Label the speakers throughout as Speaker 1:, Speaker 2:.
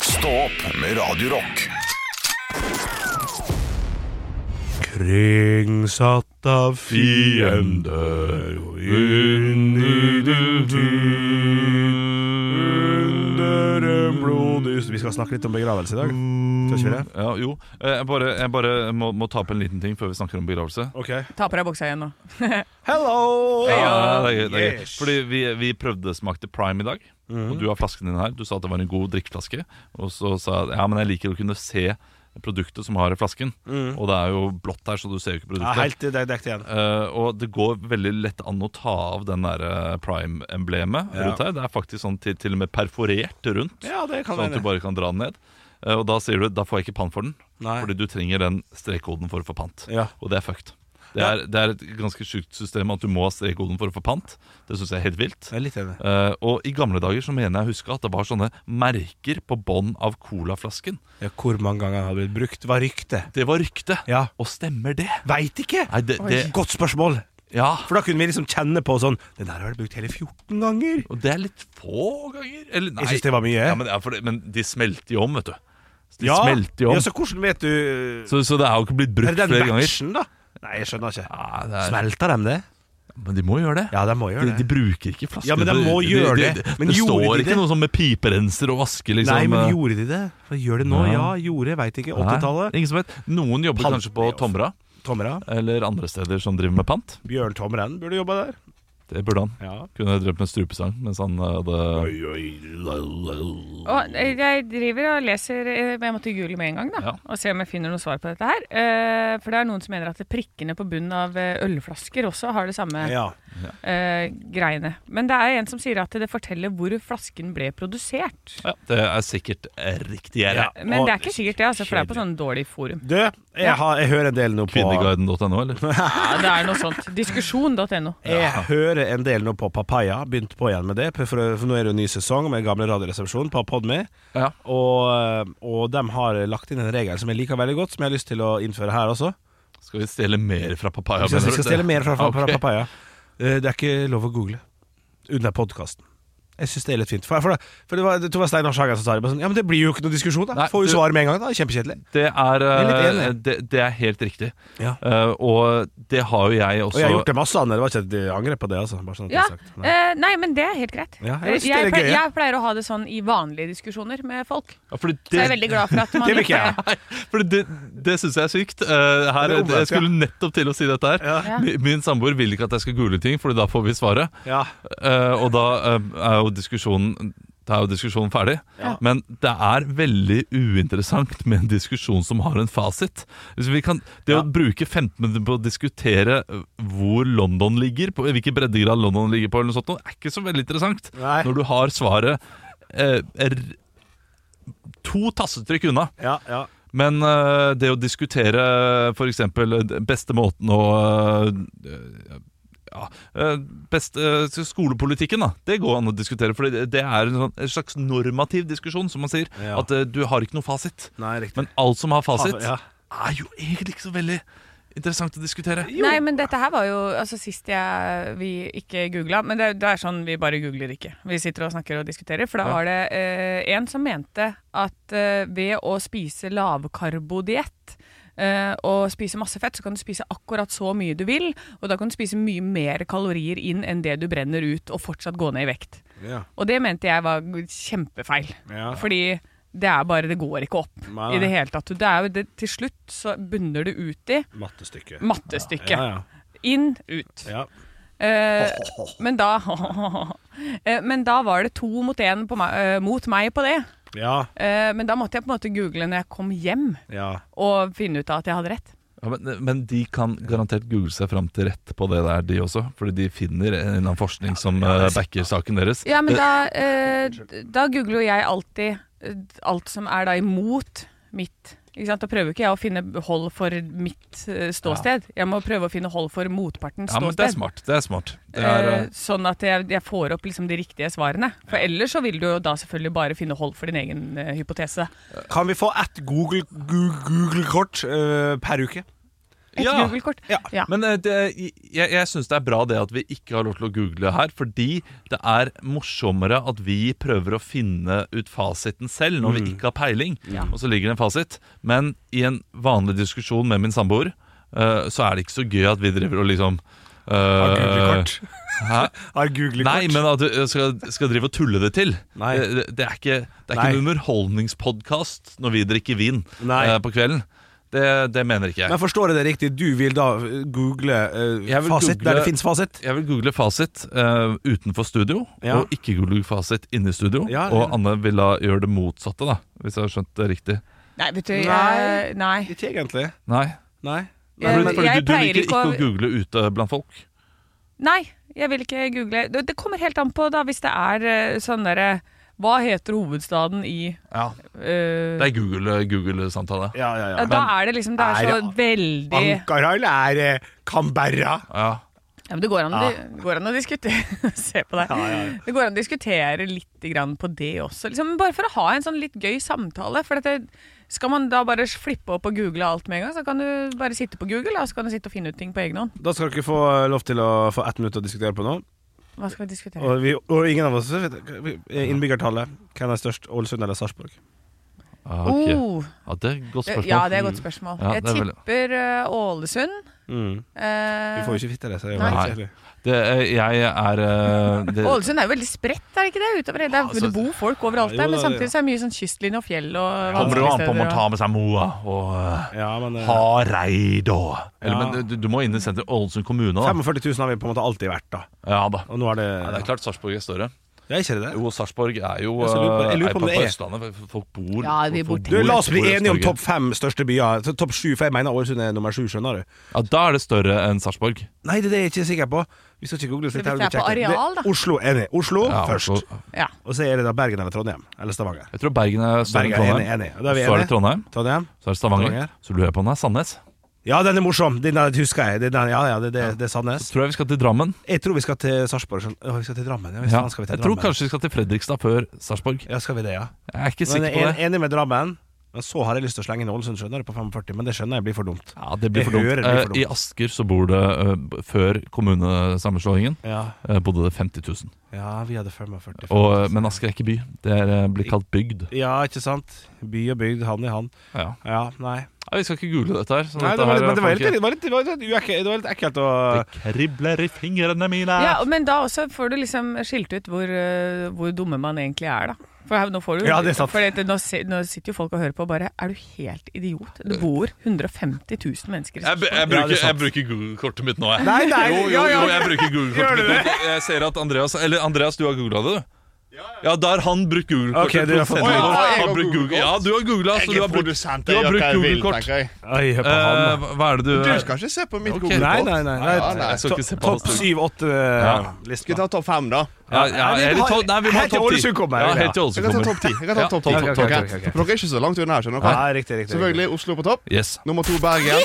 Speaker 1: Stå opp med Radio Rock.
Speaker 2: Kringsatt av fiender og inn i din tid under en blodig Vi skal snakke litt om begravelse i dag. Skal ikke vi det?
Speaker 3: Ja, jo, Eh, jeg bare, jeg bare må, må ta opp en liten ting før vi snakker om begravelse.
Speaker 2: Ok.
Speaker 4: Ta på deg buksa igjen nå.
Speaker 2: Hello!
Speaker 3: Ja, det er gøy, det er gøy.
Speaker 2: Yes. Mhm.
Speaker 3: Fordi vi, vi prøvde smakte Prime i dag, og du har flasken din her. Du sa at det var en god drikkeflaske, og så sa jeg ja, men jeg liker å kunne se produktet som har i flasken. Og det er jo blått her, så du ser jo ikke
Speaker 2: Mhm. Ja,
Speaker 3: produktet.
Speaker 2: helt det er dekket igjen.
Speaker 3: Eh, og det går veldig lett an å ta av den der eh, prime-emblemet
Speaker 2: Ja.
Speaker 3: rundt her. Det er faktisk sånn til, til og med perforert rundt,
Speaker 2: Ja, det kan
Speaker 3: sånn at du
Speaker 2: være.
Speaker 3: bare kan dra den ned. Eh, og da sier du da får jeg ikke pant for den,
Speaker 2: Nei.
Speaker 3: fordi du trenger den strekkoden for å få pant.
Speaker 2: Ja.
Speaker 3: Og det er fucked. Det er, det er et ganske sjukt system at du må ha strekkoden for å få pant. Det syns jeg er helt vilt.
Speaker 2: Jeg er litt enig.
Speaker 3: Eh, og i gamle dager så mener jeg å huske at det var sånne merker på bånn av colaflasken.
Speaker 2: Ja, hvor mange ganger den har blitt brukt, var ryktet.
Speaker 3: Det var ryktet.
Speaker 2: Ja.
Speaker 3: Og stemmer det?
Speaker 2: Veit ikke!
Speaker 3: Nei, det, det
Speaker 2: Godt spørsmål.
Speaker 3: Ja.
Speaker 2: For da kunne vi liksom kjenne på sånn Den der har vært brukt hele 14 ganger.
Speaker 3: Og det er litt få ganger. Eller, nei.
Speaker 2: Jeg syns det var mye.
Speaker 3: Ja, men, ja, for det, men de smelter jo om, vet du. De
Speaker 2: Ja.
Speaker 3: smelter jo om.
Speaker 2: Ja,
Speaker 3: så,
Speaker 2: så hvordan vet du
Speaker 3: så, det er jo ikke blitt
Speaker 2: Er
Speaker 3: brukt
Speaker 2: det den
Speaker 3: flere ganger.
Speaker 2: batchen, da? Nei, jeg skjønner ikke.
Speaker 3: Ja, det er,
Speaker 2: Smelter de det?
Speaker 3: men de må gjøre det.
Speaker 2: Ja, de må
Speaker 3: de,
Speaker 2: gjøre
Speaker 3: de
Speaker 2: det.
Speaker 3: bruker ikke flasker.
Speaker 2: Ja, men de må gjøre det. Men
Speaker 3: det
Speaker 2: gjorde
Speaker 3: står
Speaker 2: de
Speaker 3: ikke
Speaker 2: det?
Speaker 3: noe sånn med piperenser og vaske, liksom.
Speaker 2: Nei, men
Speaker 3: eh,
Speaker 2: gjorde de det? For gjør det nå?
Speaker 3: Ja.
Speaker 2: Ja, gjorde, veit ikke.
Speaker 3: nei,
Speaker 2: 80-tallet.
Speaker 3: Ingen som vet. Noen jobber
Speaker 2: Pant-
Speaker 3: kanskje på Tomra
Speaker 2: Tomra.
Speaker 3: eller andre steder som driver med pant.
Speaker 2: Bjørn Tomren burde jobba der.
Speaker 3: Det burde han.
Speaker 2: Ja.
Speaker 3: Kunne drevet med strupesang mens han eh, hadde
Speaker 4: Og eh, jeg driver og leser eh, men Jeg måtte google med en gang da
Speaker 3: Ja.
Speaker 4: og se om jeg finner noe svar på dette her. Eh, For det er noen som mener at prikkene på bunnen av eh, ølflasker også har det samme
Speaker 2: ja.
Speaker 4: eh, greiene. Men det er en som sier at det forteller hvor flasken ble produsert.
Speaker 3: Ja, det er sikkert eh, riktigere.
Speaker 2: Ja.
Speaker 4: Men
Speaker 2: Og-
Speaker 4: det er ikke sikkert det, altså, for det er på sånn dårlig forum.
Speaker 2: Du, jeg, har, jeg hører en del nå på
Speaker 3: Kvinneguiden.no, eller?
Speaker 4: Ja, det er noe sånt. Diskusjon.no.
Speaker 2: Jeg hører en del nå på Papaya. Begynt på igjen med det. For, for nå er det jo en ny sesong med gamle Radioresepsjon på Podme.
Speaker 3: Ja.
Speaker 2: Og, eh, og de har lagt inn en regel som jeg liker veldig godt, som jeg har lyst til å innføre her også.
Speaker 3: Skal vi stjele mer fra papaya?
Speaker 2: Hvis jeg
Speaker 3: mener
Speaker 2: skal
Speaker 3: du?
Speaker 2: stjele mer fra, fra, fra
Speaker 3: Ok.
Speaker 2: papaya Eh, Det er ikke lov å google Under podcasten Jeg synes det er litt fint For, for, det, for det var det var Steinar Sagen som sa det bare sånn, Ja, men det blir jo ikke noe diskusjon da
Speaker 3: Nei,
Speaker 2: Får jo
Speaker 3: du-
Speaker 2: svar med en gang da, kjempekjedelig
Speaker 3: Det er,
Speaker 2: er litt
Speaker 3: eh,
Speaker 2: enig.
Speaker 3: det, det er helt riktig.
Speaker 2: Ja.
Speaker 3: Eh, og det har jo jeg
Speaker 2: Og
Speaker 3: også
Speaker 2: jeg har gjort det masse annet, det var ikke at jeg angrer på det altså Bare sånn at
Speaker 4: Ja,
Speaker 2: jeg har sagt Nei.
Speaker 4: eh, nei, men det er helt greit.
Speaker 2: Ja, jeg
Speaker 4: jeg,
Speaker 2: synes det er gøy,
Speaker 4: pleier,
Speaker 2: ja.
Speaker 4: jeg pleier å ha det sånn i vanlige diskusjoner med folk.
Speaker 3: Ja, fordi
Speaker 4: Så jeg er
Speaker 3: det,
Speaker 4: veldig glad for at man
Speaker 2: Det vil ikke jeg
Speaker 3: Nei, fordi det, det syns jeg er sykt. Eh, her,
Speaker 2: Det er omvendt,
Speaker 3: jeg skulle nettopp til å si dette her.
Speaker 2: Ja.
Speaker 4: Ja.
Speaker 3: Min, min samboer vil ikke at jeg skal google ting, Fordi da får vi svaret.
Speaker 2: Ja,
Speaker 3: Eh, og da eh, er jo diskusjonen da er jo diskusjonen ferdig,
Speaker 2: Ja.
Speaker 3: men det er veldig uinteressant med en diskusjon som har en fasit. Hvis vi kan, det
Speaker 2: Ja.
Speaker 3: å bruke 15 minutter på å diskutere eh, hvor London ligger, på, hvilken breddegrad London ligger på, eller noe sånt, noe, er ikke så veldig interessant.
Speaker 2: Nei.
Speaker 3: Når du har svaret eh, er, to tassetrykk unna.
Speaker 2: ja, ja
Speaker 3: Men eh, det å diskutere f.eks. beste måten å eh, ja, eh, best, eh, Skolepolitikken, da. Det går an å diskutere. For det det er en, sånn, en slags normativ diskusjon, som man sier.
Speaker 2: Ja.
Speaker 3: At eh, du har ikke noe fasit.
Speaker 2: Nei, riktig
Speaker 3: Men alt som har fasit,
Speaker 2: Ja.
Speaker 3: er jo egentlig ikke så veldig interessant å diskutere.
Speaker 4: Nei, men dette her var jo altså, sist jeg, vi ikke googla. Men det, det er sånn vi bare googler ikke. Vi sitter og snakker og diskuterer. For da
Speaker 3: Ja.
Speaker 4: var det eh, en som mente at eh, ved å spise lavkarbodiett eh, og spise masse fett, så kan du spise akkurat så mye du vil. Og da kan du spise mye mer kalorier inn enn det du brenner ut, og fortsatt gå ned i vekt.
Speaker 2: Ja,
Speaker 4: Og det mente jeg var kjempefeil.
Speaker 2: ja.
Speaker 4: Fordi det er bare Det går ikke opp
Speaker 2: Nei,
Speaker 4: i det
Speaker 2: nei.
Speaker 4: hele tatt. Det er jo det, til slutt så bunner det ut i
Speaker 2: mattestykke
Speaker 4: mattestykket.
Speaker 2: Ja,
Speaker 4: Inn, ut.
Speaker 2: ja, ja.
Speaker 4: Eh, men da Eh, Men da var det to mot én på meg, eh, mot meg på det.
Speaker 2: ja,
Speaker 4: Eh, men da måtte jeg på en måte google når jeg kom hjem,
Speaker 2: ja.
Speaker 4: og finne ut av at jeg hadde rett.
Speaker 3: Ja, men, men de kan garantert google seg fram til rett på det der, de også. Fordi de finner en eller annen forskning som eh, backer saken deres.
Speaker 4: Ja, men da, eh, da googler jo jeg alltid eh, alt som er da imot mitt. Ikke sant? Da prøver ikke jeg å finne hold for mitt eh, ståsted. Jeg må prøve å finne hold for motpartens
Speaker 3: Ja, men det er
Speaker 4: ståsted.
Speaker 3: smart. Det er smart. Det er,
Speaker 4: Eh,
Speaker 3: eh,
Speaker 4: sånn at jeg, jeg får opp liksom de riktige svarene. For ellers så vil du jo da selvfølgelig bare finne hold for din egen eh, hypotese.
Speaker 2: Kan vi få ett Google- Google- Google-kort eh, per uke?
Speaker 4: Et
Speaker 3: Ja.
Speaker 4: Google-kort.
Speaker 2: Ja.
Speaker 4: Ja.
Speaker 3: Men eh, det, jeg, jeg syns det er bra det at vi ikke har lov til å google her, fordi det er morsommere at vi prøver å finne ut fasiten selv når
Speaker 2: Mm.
Speaker 3: vi ikke har peiling, og så ligger det en fasit. Men i en vanlig diskusjon med min samboer, eh, så er det ikke så gøy at vi driver og liksom eh,
Speaker 2: Har Google-kort.
Speaker 3: Hæ?
Speaker 2: Har Google-kort.
Speaker 3: Nei, men at du eh, skal, skal drive og tulle det til.
Speaker 2: Nei.
Speaker 3: Det, det er ikke, det er
Speaker 2: Nei.
Speaker 3: ikke en underholdningspodkast når vi drikker vin
Speaker 2: Nei.
Speaker 3: eh, på kvelden. Det, det mener ikke jeg.
Speaker 2: Men forstår jeg det riktig? Du vil da eh, google eh,
Speaker 3: Jeg vil
Speaker 2: fasit
Speaker 3: google-
Speaker 2: der det fins fasit?
Speaker 3: Jeg vil google fasit eh, utenfor studio,
Speaker 2: Ja.
Speaker 3: og ikke google fasit inne i studio.
Speaker 2: Ja, ja.
Speaker 3: Og Anne vil da gjøre det motsatte, da, hvis jeg har skjønt det riktig.
Speaker 4: Nei, vet du
Speaker 2: Nei.
Speaker 4: eh, Nei.
Speaker 2: Ikke egentlig.
Speaker 3: Nei,
Speaker 2: Nei.
Speaker 4: Ja,
Speaker 3: fordi,
Speaker 4: Eh, men
Speaker 3: fordi
Speaker 4: jeg
Speaker 3: du, du
Speaker 4: pleier
Speaker 3: liker
Speaker 4: ikke
Speaker 3: ikke å...
Speaker 4: å-
Speaker 3: google ute blant folk.
Speaker 4: Nei, jeg vil ikke google. Det, det kommer helt an på da, hvis det er eh, sånn derre Hva heter hovedstaden i
Speaker 3: Ja.
Speaker 4: eh,
Speaker 3: Det er Google- Google-samtale.
Speaker 2: Ja, ja,
Speaker 4: ja, Da er det liksom Det er
Speaker 2: Er
Speaker 4: så
Speaker 2: Altså, det-
Speaker 4: veldig ja,
Speaker 2: Ankara eller er eh, Canberra?
Speaker 3: ja.
Speaker 4: men Det går an, å-
Speaker 2: Ja.
Speaker 4: det går an å diskutere Se på deg.
Speaker 2: Ja, ja, ja.
Speaker 4: Det går an å diskutere litt grann på det også. Liksom, bare for å ha en sånn litt gøy samtale. For dette, skal man da bare flippe opp og google alt med en gang, så kan du bare sitte på Google da, og så kan du sitte og finne ut ting på egen hånd.
Speaker 2: Da skal dere få lov til å få ett minutt å diskutere på nå.
Speaker 4: Hva skal vi diskutere?
Speaker 2: Og, vi, og ingen av oss vet Innbyggertallet. Hvem er størst, Ålesund eller Sarpsborg?
Speaker 3: Ah, ok.
Speaker 4: Oh,
Speaker 3: ja, det er et godt spørsmål.
Speaker 4: ja, det er et godt spørsmål.
Speaker 3: Ja,
Speaker 4: jeg
Speaker 3: det er veldig-
Speaker 4: tipper eh, Ålesund.
Speaker 2: Mm.
Speaker 4: Eh,
Speaker 2: Vi får jo ikke vite det. Så det er jo
Speaker 4: Nei.
Speaker 2: veldig kjedelig.
Speaker 3: Det er- jeg er eh, det,
Speaker 4: Ålesund er jo veldig spredt, er det ikke det? Utover hele,
Speaker 3: altså-
Speaker 4: det bor folk overalt
Speaker 2: Ja, jo
Speaker 4: der,
Speaker 2: da,
Speaker 4: men
Speaker 2: det-
Speaker 4: samtidig så er det mye sånn kystlinje og fjell og
Speaker 3: Kommer jo an på om
Speaker 4: vanskelige
Speaker 3: man tar med seg Moa og uh,
Speaker 2: ja, men, eh,
Speaker 3: Hareid og
Speaker 2: Ja.
Speaker 3: Eller, men du, du må inn i sentrum. Ålesund kommune, da.
Speaker 2: 45 000 har vi på en måte alltid vært, da.
Speaker 3: Ja da.
Speaker 2: Og nå er det
Speaker 3: Ja, det er klart Sarpsborg er større.
Speaker 2: Ja, ikke det?
Speaker 3: Jo, Sarpsborg er jo eh,
Speaker 2: Ja, så jeg lurer på- jeg lurer
Speaker 3: er
Speaker 2: på om
Speaker 3: på,
Speaker 2: det
Speaker 3: på
Speaker 2: er.
Speaker 3: Østlandet. Folk bor
Speaker 4: Ja, de
Speaker 3: folk
Speaker 4: bor
Speaker 2: Du, La oss bli
Speaker 3: bor i
Speaker 2: enige om
Speaker 3: Østnorge.
Speaker 2: topp fem største byer. Så Topp sju, for jeg mener Ålesund er nummer sju, skjønner du.
Speaker 3: Ja, Da er det større enn Sarpsborg.
Speaker 2: Nei, det er det jeg ikke er sikker på. Vi skal ikke google oss litt
Speaker 4: Skal vi
Speaker 2: her,
Speaker 4: se på
Speaker 2: vi sjekker.
Speaker 4: areal, da?
Speaker 2: Det, Oslo, enig. Oslo
Speaker 3: Ja,
Speaker 2: først.
Speaker 3: Oslo.
Speaker 4: Ja.
Speaker 2: Og så er det da Bergen eller Trondheim. Eller Stavanger.
Speaker 3: Jeg tror Bergen er større
Speaker 2: Bergen,
Speaker 3: enn
Speaker 2: enig,
Speaker 3: Trondheim.
Speaker 2: enig. Da er vi
Speaker 3: Så er det
Speaker 2: enige.
Speaker 3: Trondheim,
Speaker 2: Trondheim.
Speaker 3: så er det Stavanger.
Speaker 2: Stavanger.
Speaker 3: Så lurer jeg på om det er Sandnes.
Speaker 2: Ja, den er morsom. Den der husker jeg. Den der, ja, ja, det, det, det er Sandnes.
Speaker 3: Tror jeg vi skal til Drammen.
Speaker 2: Jeg tror vi skal til Sarpsborg. skjønner- Å, vi skal til Drammen. Ja, visst
Speaker 3: Ja.
Speaker 2: faen skal vi til
Speaker 3: Jeg tror
Speaker 2: Drammen.
Speaker 3: kanskje vi skal til Fredrikstad før Sarpsborg.
Speaker 2: Ja, skal vi det, ja.
Speaker 3: Jeg er ikke
Speaker 2: Men
Speaker 3: sikker
Speaker 2: jeg
Speaker 3: på
Speaker 2: er
Speaker 3: det.
Speaker 2: enig med Drammen. Men så har jeg lyst til å slenge inn Ålesund, skjønner du, på 45, men det skjønner jeg blir for dumt.
Speaker 3: Ja, det blir
Speaker 2: Jeg
Speaker 3: for dumt.
Speaker 2: hører det blir for
Speaker 3: Eh,
Speaker 2: dumt.
Speaker 3: I Asker så bor det, eh, b- før kommunesammenslåingen,
Speaker 2: Ja,
Speaker 3: eh, bodde det 50 000.
Speaker 2: ja vi hadde 45.
Speaker 3: Og, eh, men Asker er ikke by. Det er eh, blir kalt bygd.
Speaker 2: Ja, ikke sant? By og bygd, hand i hand.
Speaker 3: Ja.
Speaker 2: Ja, nei.
Speaker 3: Ja, vi skal ikke google dette her. så
Speaker 2: nei
Speaker 3: Mm, dette
Speaker 2: det, var,
Speaker 3: her
Speaker 2: litt- men det var
Speaker 3: får
Speaker 2: litt,
Speaker 3: ikke-
Speaker 2: det var litt, det var litt, uekke- det var litt ekkelt å
Speaker 3: Det kribler i fingrene mine.
Speaker 4: ja, men da også får du liksom skilt ut hvor, eh, hvor dumme man egentlig er, da. For her, nå får du
Speaker 2: Ja, det er sant.
Speaker 4: for dette- nå, si- nå sitter jo folk og hører på og bare Er du helt idiot? Det bor 150 000 mennesker i
Speaker 3: Jeg, b-
Speaker 4: Sarpsborg.
Speaker 3: jeg
Speaker 2: Ja, det
Speaker 3: bruker,
Speaker 2: er sant.
Speaker 3: jeg bruker Google-kortet mitt nå, jeg.
Speaker 2: Nei, nei,
Speaker 3: jo, jo,
Speaker 2: ja, ja.
Speaker 3: jo, jeg bruker
Speaker 2: Gjør
Speaker 3: Google-kortet
Speaker 2: du
Speaker 3: mitt nå. Jeg ser at Andreas Eller Andreas, du har googla det, du? Ja, der han brukt
Speaker 2: Ok,
Speaker 3: Google-kortet.
Speaker 2: du har fått-
Speaker 3: Produsenten
Speaker 5: Å, ja,
Speaker 3: vår
Speaker 5: jeg
Speaker 3: har
Speaker 5: har
Speaker 3: brukt
Speaker 5: Google-kort.
Speaker 3: Google. Ja, du har googla, så du
Speaker 5: Jeg
Speaker 3: har brukt,
Speaker 5: er produsent,
Speaker 3: du
Speaker 5: jeg
Speaker 3: har
Speaker 5: gjør
Speaker 3: brukt
Speaker 5: hva jeg vil,
Speaker 3: Google-kort.
Speaker 5: tenker jeg.
Speaker 2: Oi, hør på
Speaker 3: Eh,
Speaker 2: han.
Speaker 3: hva- hva er det du
Speaker 5: Du skal ikke se på mitt
Speaker 3: Ok.
Speaker 5: Google-kort.
Speaker 2: Nei, nei, nei. nei.
Speaker 5: Ja, nei.
Speaker 3: Jeg skal ikke se på
Speaker 2: Topp
Speaker 3: alt.
Speaker 2: syv, åtte eh,
Speaker 3: Ja.
Speaker 5: Skal vi
Speaker 2: lister.
Speaker 5: ta topp fem, da?
Speaker 3: Ja,
Speaker 2: Nei, vi
Speaker 3: ja, eller
Speaker 2: har-
Speaker 3: to- Nei, vi må ha
Speaker 2: helt til
Speaker 3: topp ti.
Speaker 2: Ålesund kommer.
Speaker 3: Ja, helt til
Speaker 5: Jeg
Speaker 3: Ålesund
Speaker 5: kan ta
Speaker 3: kommer.
Speaker 5: topp ti. Jeg kan ta
Speaker 3: Ja,
Speaker 5: topp
Speaker 3: topp
Speaker 5: ti.
Speaker 2: ok,
Speaker 3: ti,
Speaker 2: ok, ok,
Speaker 5: Ok.
Speaker 2: ok.
Speaker 5: For Dere er ikke så langt unna her, skjønner
Speaker 2: Ja,
Speaker 5: dere.
Speaker 2: riktig, riktig. riktig.
Speaker 5: Selvfølgelig Oslo på topp.
Speaker 3: Yes.
Speaker 5: Nummer to Bergen.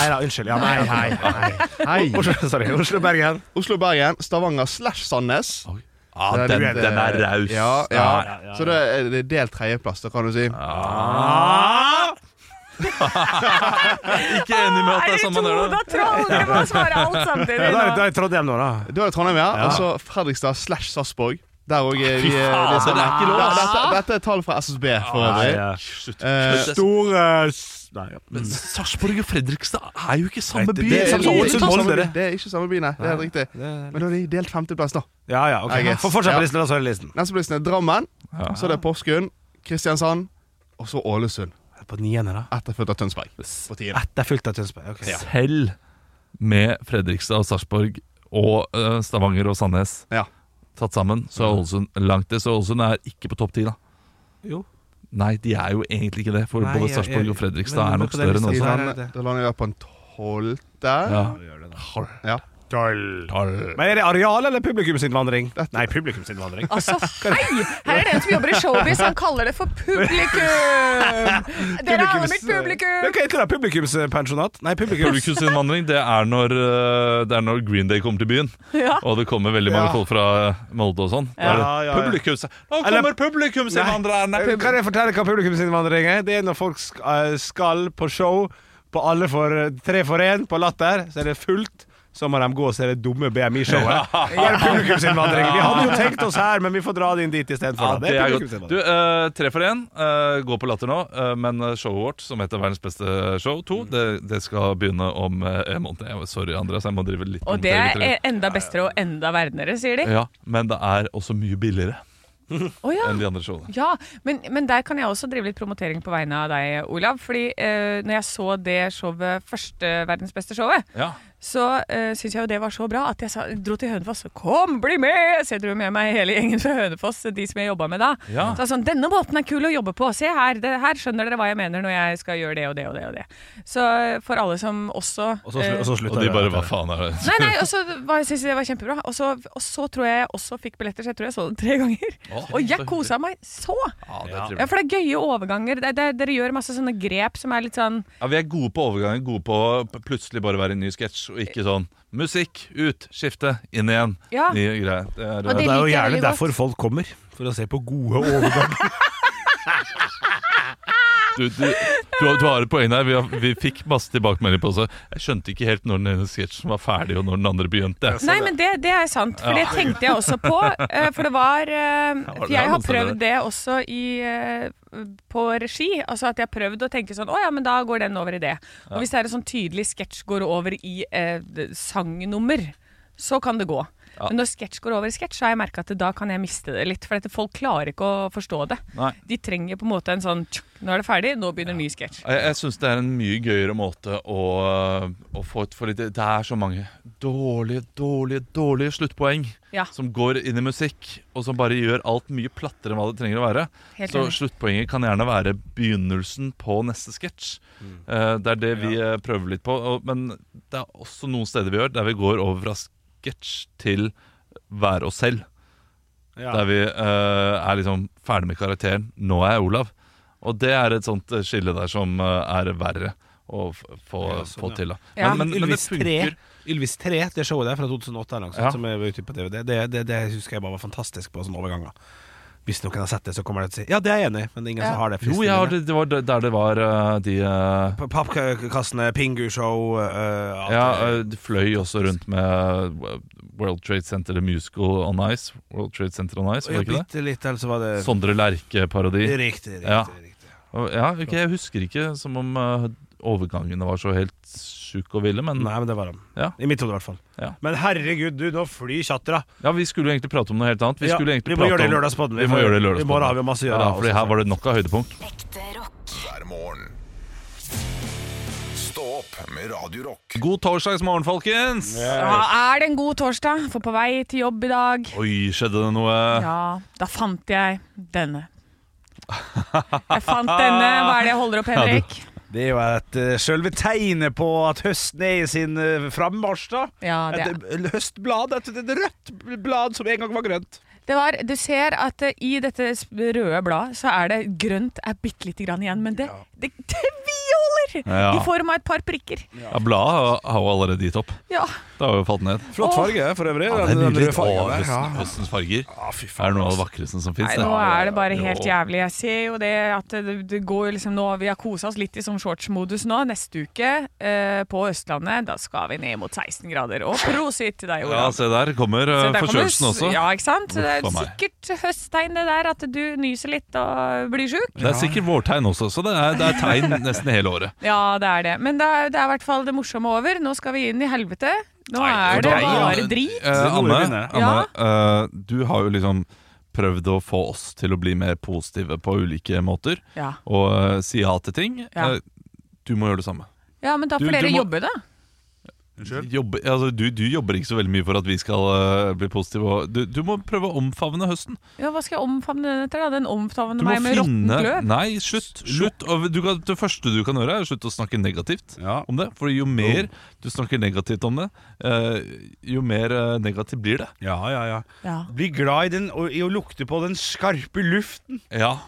Speaker 2: Nei da, unnskyld. Ja, nei, hei, hei.
Speaker 5: Hei.
Speaker 2: Oslo, sorry, Oslo Bergen.
Speaker 5: Oslo, Bergen, Stavanger slash Sandnes.
Speaker 3: Ja,
Speaker 5: Så
Speaker 3: Ah, den,
Speaker 5: du
Speaker 3: den er raus. Ah,
Speaker 5: Ja,
Speaker 3: Ja.
Speaker 5: ja. Så det er, det er delt tredjeplass, da kan du si.
Speaker 2: Ah.
Speaker 3: Ikke enig med at det er sånn man gjør det.
Speaker 4: da, troll? Dere må svare alt
Speaker 2: Ja,
Speaker 4: samtidig.
Speaker 2: da, er- da
Speaker 4: nå.
Speaker 2: er Trondheim nå, da.
Speaker 5: Da er det Trondheim, ja. Og så Fredrikstad slash Sarpsborg. Der òg er vi
Speaker 3: Fy faen,
Speaker 5: litt sånn
Speaker 3: det er ikke lov,
Speaker 5: Ja,
Speaker 3: ass.
Speaker 5: dette, dette er tall fra SSB for
Speaker 2: Nei,
Speaker 5: øvrig.
Speaker 2: ja.
Speaker 3: Slutt.
Speaker 5: Eh,
Speaker 3: Slutt.
Speaker 2: Store s- Nei, ja.
Speaker 3: Men Sarpsborg og Fredrikstad er jo ikke
Speaker 2: Nei,
Speaker 3: samme by.
Speaker 2: det- det er samme
Speaker 5: ikke
Speaker 2: Ålesund,
Speaker 5: samme
Speaker 2: Molde,
Speaker 5: by.
Speaker 2: det.
Speaker 5: det er ikke samme by, nei. Det er helt riktig. Men da er de delt femteplass, da.
Speaker 2: Ja, ja, ok.
Speaker 5: I guess.
Speaker 2: Få fortsette på
Speaker 5: Ja.
Speaker 2: listen, da, så er det listen.
Speaker 5: Neste plassen er Drammen,
Speaker 3: Ja.
Speaker 5: så er det Porsgrunn, Kristiansand og så Ålesund.
Speaker 2: På niende, da.
Speaker 5: Etterfulgt av Tønsberg. På tiende.
Speaker 2: Etterfulgt av Tønsberg. ok.
Speaker 3: Selv med Fredrikstad og Sarpsborg og eh, Stavanger og Sandnes
Speaker 5: Ja.
Speaker 3: tatt sammen, så er Ålesund langt det. Så Ålesund er ikke på topp ti, da.
Speaker 2: Jo.
Speaker 3: Nei, de er jo egentlig ikke det, for
Speaker 2: Nei,
Speaker 3: både
Speaker 2: jeg-
Speaker 3: Sarpsborg
Speaker 2: jeg-
Speaker 3: og Fredrikstad
Speaker 2: men-
Speaker 3: er
Speaker 2: men
Speaker 3: nok
Speaker 2: på den
Speaker 3: større enn
Speaker 2: listen- Ja,
Speaker 3: Ålesund.
Speaker 5: Da
Speaker 2: det er det.
Speaker 5: da lander vi på en tolvte.
Speaker 3: Ja.
Speaker 5: Ja.
Speaker 2: Men er det areal eller publikumsinnvandring? Nei, publikumsinnvandring.
Speaker 4: Altså, hei! Her er det en som jobber i showbiz, han kaller det for publikum! Dere er alle mitt
Speaker 2: Men
Speaker 4: publikum!
Speaker 2: Hva heter det? Publikumspensjonat? Nei, publikums...
Speaker 3: Publikumsinnvandring, det er når eh, Det er når Green Day kommer til byen,
Speaker 4: Ja.
Speaker 3: og det kommer veldig mange
Speaker 2: Ja.
Speaker 3: folk fra Molde og sånn. Da
Speaker 2: Ja,
Speaker 3: er det
Speaker 2: ja, ja.
Speaker 3: Publikums... Nå
Speaker 2: Eller-
Speaker 3: kommer publikumsinnvandrerne!
Speaker 2: Kan jeg fortelle hva publikumsinnvandring er? Det er når folk sk- eh, skal på show På alle for tre for én på Latter så er det fullt. Så må de gå og se det dumme BMI-showet. Da er det publikumsinnvandring. Vi hadde jo tenkt oss her, men vi får dra det inn dit
Speaker 3: Ja,
Speaker 2: istedenfor.
Speaker 3: det er godt. Du, eh, tre for én. eh, gå på Latter nå. eh, men showet vårt, som heter Verdens beste eh, show 2, det, det skal begynne om eh, en måned. Jeg- Sorry, Andreas, jeg må drive litt
Speaker 4: Og det er e- enda bestere og enda verdenere, sier de.
Speaker 3: Ja, Men det er også mye billigere
Speaker 4: Å ja.
Speaker 3: enn de andre showene.
Speaker 4: Ja, men, men der kan jeg også drive litt promotering på vegne av deg, Olav. Fordi eh, når jeg så det showet, første verdens beste showet,
Speaker 3: Ja.
Speaker 4: så uh, syntes jeg jo det var så bra at jeg sa, dro til Hønefoss. Kom, bli med! Så jeg dro med meg hele gjengen fra Hønefoss, de som jeg jobba med da.
Speaker 3: Ja.
Speaker 4: Så jeg sa sånn, Denne båten er kul å jobbe på! Se her! Det, her skjønner dere hva jeg mener når jeg skal gjøre det og det og det. og det. Så eh, for alle som også
Speaker 2: Og så, slu-
Speaker 4: eh,
Speaker 2: og så slutta
Speaker 3: Og de
Speaker 2: jeg
Speaker 3: bare
Speaker 2: etter
Speaker 3: Hva
Speaker 2: det.
Speaker 3: faen er det?
Speaker 4: Nei, nei, og så var- syntes jeg det var kjempebra. Og så, og så tror jeg jeg også fikk billetter, så jeg tror jeg så det tre ganger.
Speaker 3: Å,
Speaker 4: Og
Speaker 3: så
Speaker 4: jeg kosa meg så!
Speaker 3: Ja, det er
Speaker 2: Ja.
Speaker 3: trivelig.
Speaker 4: Ja, for det er gøye overganger. Det, det, dere gjør masse sånne grep som er litt sånn
Speaker 3: Ja, Vi er gode på overgangen, gode på å p- plutselig bare være i en ny sketsj. Og ikke sånn musikk, ut, skifte, inn igjen.
Speaker 4: Ja.
Speaker 3: Nye greier. Det er,
Speaker 6: Og
Speaker 2: Det
Speaker 6: det-
Speaker 2: er jo
Speaker 6: liker jeg
Speaker 2: gjerne
Speaker 6: veldig godt.
Speaker 2: derfor folk kommer. For å se på gode overganger.
Speaker 3: du, du, du, har- du har et poeng der. Vi, har, vi fikk masse tilbakemeldinger på det. Jeg skjønte ikke helt når den ene sketsjen var ferdig, og når den andre begynte.
Speaker 4: Nei, men det, det er sant, for det tenkte jeg også på. eh, For det var eh,
Speaker 3: var
Speaker 4: For
Speaker 3: det
Speaker 4: jeg har
Speaker 3: noen steder
Speaker 4: prøvd det også i eh, på regi. Altså at jeg har prøvd å tenke sånn Å ja, men da går den over i det. Og hvis det er en sånn tydelig sketsj går over i eh, d- sangnummer, så kan det gå. Men når sketsj går over i sketsj, så har jeg merka at da kan jeg miste det litt. For at folk klarer ikke å forstå det.
Speaker 3: Nei.
Speaker 4: De trenger på en måte en sånn tsk, Nå er det ferdig, nå begynner ny sketsj.
Speaker 3: Jeg, jeg syns det er en mye gøyere måte å, å få et For det, det er så mange dårlige, dårlige, dårlige sluttpoeng
Speaker 4: Ja.
Speaker 3: som går inn i musikk, og som bare gjør alt mye plattere enn hva det trenger å være.
Speaker 4: Helt
Speaker 3: så
Speaker 4: enig.
Speaker 3: sluttpoenget kan gjerne være begynnelsen på neste sketsj.
Speaker 2: Mm.
Speaker 3: Eh, det er det vi eh, prøver litt på. Og, men det er også noen steder vi gjør der vi går over fra sketsj til være oss selv. Der vi eh, er liksom ferdig med karakteren. Nå er jeg Olav. Og det er et sånt eh, skille der som eh, er verre å f- få,
Speaker 2: Ja, sånn,
Speaker 3: få
Speaker 2: ja.
Speaker 3: til. Da.
Speaker 4: Ja.
Speaker 3: Men, men, men det
Speaker 2: Ylvis 3,
Speaker 3: funker.
Speaker 2: Ylvis 3, det showet der fra 2008 eller noe sånt,
Speaker 3: Ja.
Speaker 2: som er ute på TV, det, det, det, det husker jeg bare var fantastisk på sånne overganger. Hvis noen har sett det, så kommer de til å si Ja, det er jeg enig i, men det er ingen
Speaker 4: Ja.
Speaker 2: som har det.
Speaker 3: Jo, jeg har, det, det var der det var eh, de eh,
Speaker 2: P- Pappkassene, Pingu-show øh, alt
Speaker 3: Ja,
Speaker 2: det.
Speaker 3: eh, det fløy også rundt med eh, World Trade Center The Musical on Ice. World Trade Center on Ice,
Speaker 2: Og
Speaker 3: var det ikke det?
Speaker 2: bitte litt, eller så var det
Speaker 3: Sondre Lerche-parodi.
Speaker 2: Riktig, riktig.
Speaker 3: Ja.
Speaker 2: riktig.
Speaker 3: Og- Ja, ok, Jeg husker ikke som om eh, overgangene var så helt sjuke og ville, men
Speaker 2: Nei, men det var han.
Speaker 3: Ja.
Speaker 2: I mitt hode, i hvert fall.
Speaker 3: Ja.
Speaker 2: Men herregud, du, nå flyr tjattera!
Speaker 3: ja, vi skulle jo egentlig prate om noe helt annet. Vi,
Speaker 2: Ja,
Speaker 3: skulle egentlig
Speaker 2: vi må
Speaker 3: prate
Speaker 2: gjøre det i
Speaker 3: om-
Speaker 2: lørdagspodden.
Speaker 3: Vi må gjøre det i lørdagspodden.
Speaker 2: I morgen har vi masse å gjøre.
Speaker 3: Ja, fordi her var det nok av høydepunkt.
Speaker 6: Ekte rock.
Speaker 1: hver morgen. Stå opp med Radio Rock.
Speaker 3: God torsdagsmorgen, folkens!
Speaker 4: Ja, er det en god torsdag? For på vei til jobb i dag
Speaker 3: Oi, skjedde det noe?
Speaker 4: Ja, da fant jeg denne. Jeg fant denne. Hva er det jeg holder opp, Henrik?
Speaker 2: Det er jo et, eh, selve tegnet på at høsten er i sin uh, frammarsj, da.
Speaker 4: Ja, det,
Speaker 2: Et eh, høstblad. Et, et rødt blad som en gang var grønt.
Speaker 4: det var, du ser at eh, i dette s- røde bladet så er det grønt er bitte lite grann igjen, men det, det tviholder
Speaker 3: Ja.
Speaker 4: i form av et par prikker.
Speaker 3: Ja, Bladet har- har jo allerede gitt opp.
Speaker 4: Ja.
Speaker 3: Det har jo falt ned.
Speaker 2: Flott
Speaker 4: Åh.
Speaker 2: farge for øvrig.
Speaker 3: Ja, det er
Speaker 2: den- den
Speaker 3: nydelig.
Speaker 2: røde fargen
Speaker 3: Å,
Speaker 2: der, ja.
Speaker 3: høsten, høstens farger
Speaker 2: Ja, fy
Speaker 3: er
Speaker 2: faen. altså.
Speaker 3: noe av det vakreste som fins.
Speaker 4: Nei, nå er det bare helt jævlig. Jeg ser jo det at det, det går jo liksom nå Vi har kosa oss litt i sånn shortsmodus nå. Neste uke eh, på Østlandet, da skal vi ned mot 16 grader. Og prosit til deg, Olav.
Speaker 3: Ja, se der kommer
Speaker 4: Så
Speaker 3: eh,
Speaker 4: der kommer
Speaker 3: forkjølelsen
Speaker 4: s-
Speaker 3: også.
Speaker 4: Ja, ikke sant? Så det er
Speaker 3: Uff a meg.
Speaker 4: sikkert høsttegn det der, at du nyser litt og blir sjuk.
Speaker 3: Det er sikkert vårtegn også, så det er, det er tegn nesten hele året.
Speaker 4: Ja, det er det. Men det er, det er i hvert fall det morsomme over. Nå skal vi inn i helvete. Nå
Speaker 3: Nei,
Speaker 4: er det
Speaker 3: nei, ja.
Speaker 4: bare drit.
Speaker 2: Det
Speaker 3: Eh,
Speaker 2: er noe
Speaker 3: Anne,
Speaker 2: vi vinner.
Speaker 3: Anne eh, du har jo liksom prøvd å få oss til å bli mer positive på ulike måter,
Speaker 4: Ja,
Speaker 3: og eh, si ja til ting.
Speaker 4: Ja.
Speaker 3: Eh, du må gjøre det samme.
Speaker 4: ja men da
Speaker 3: Du-
Speaker 4: får
Speaker 3: du
Speaker 4: dere
Speaker 3: må-
Speaker 4: jobbe, da.
Speaker 5: Unnskyld?
Speaker 3: Jobbe, altså, du, du jobber ikke så veldig mye for at vi skal eh, bli positive. og- Du, du må prøve å omfavne høsten.
Speaker 4: Ja, Hva skal jeg omfavne den etter? da? Den omfavner
Speaker 3: Du må
Speaker 4: meg med råttent løv.
Speaker 3: Nei, slutt. slutt. Og Du kan, det første du kan gjøre, er å slutte å snakke negativt
Speaker 5: Ja.
Speaker 3: om det. For jo mer du snakker negativt om det, eh, jo mer eh, negativt blir det.
Speaker 5: Ja, ja, ja.
Speaker 4: Ja.
Speaker 5: Bli glad i, den, og, i å lukte på den skarpe luften.
Speaker 3: Ja.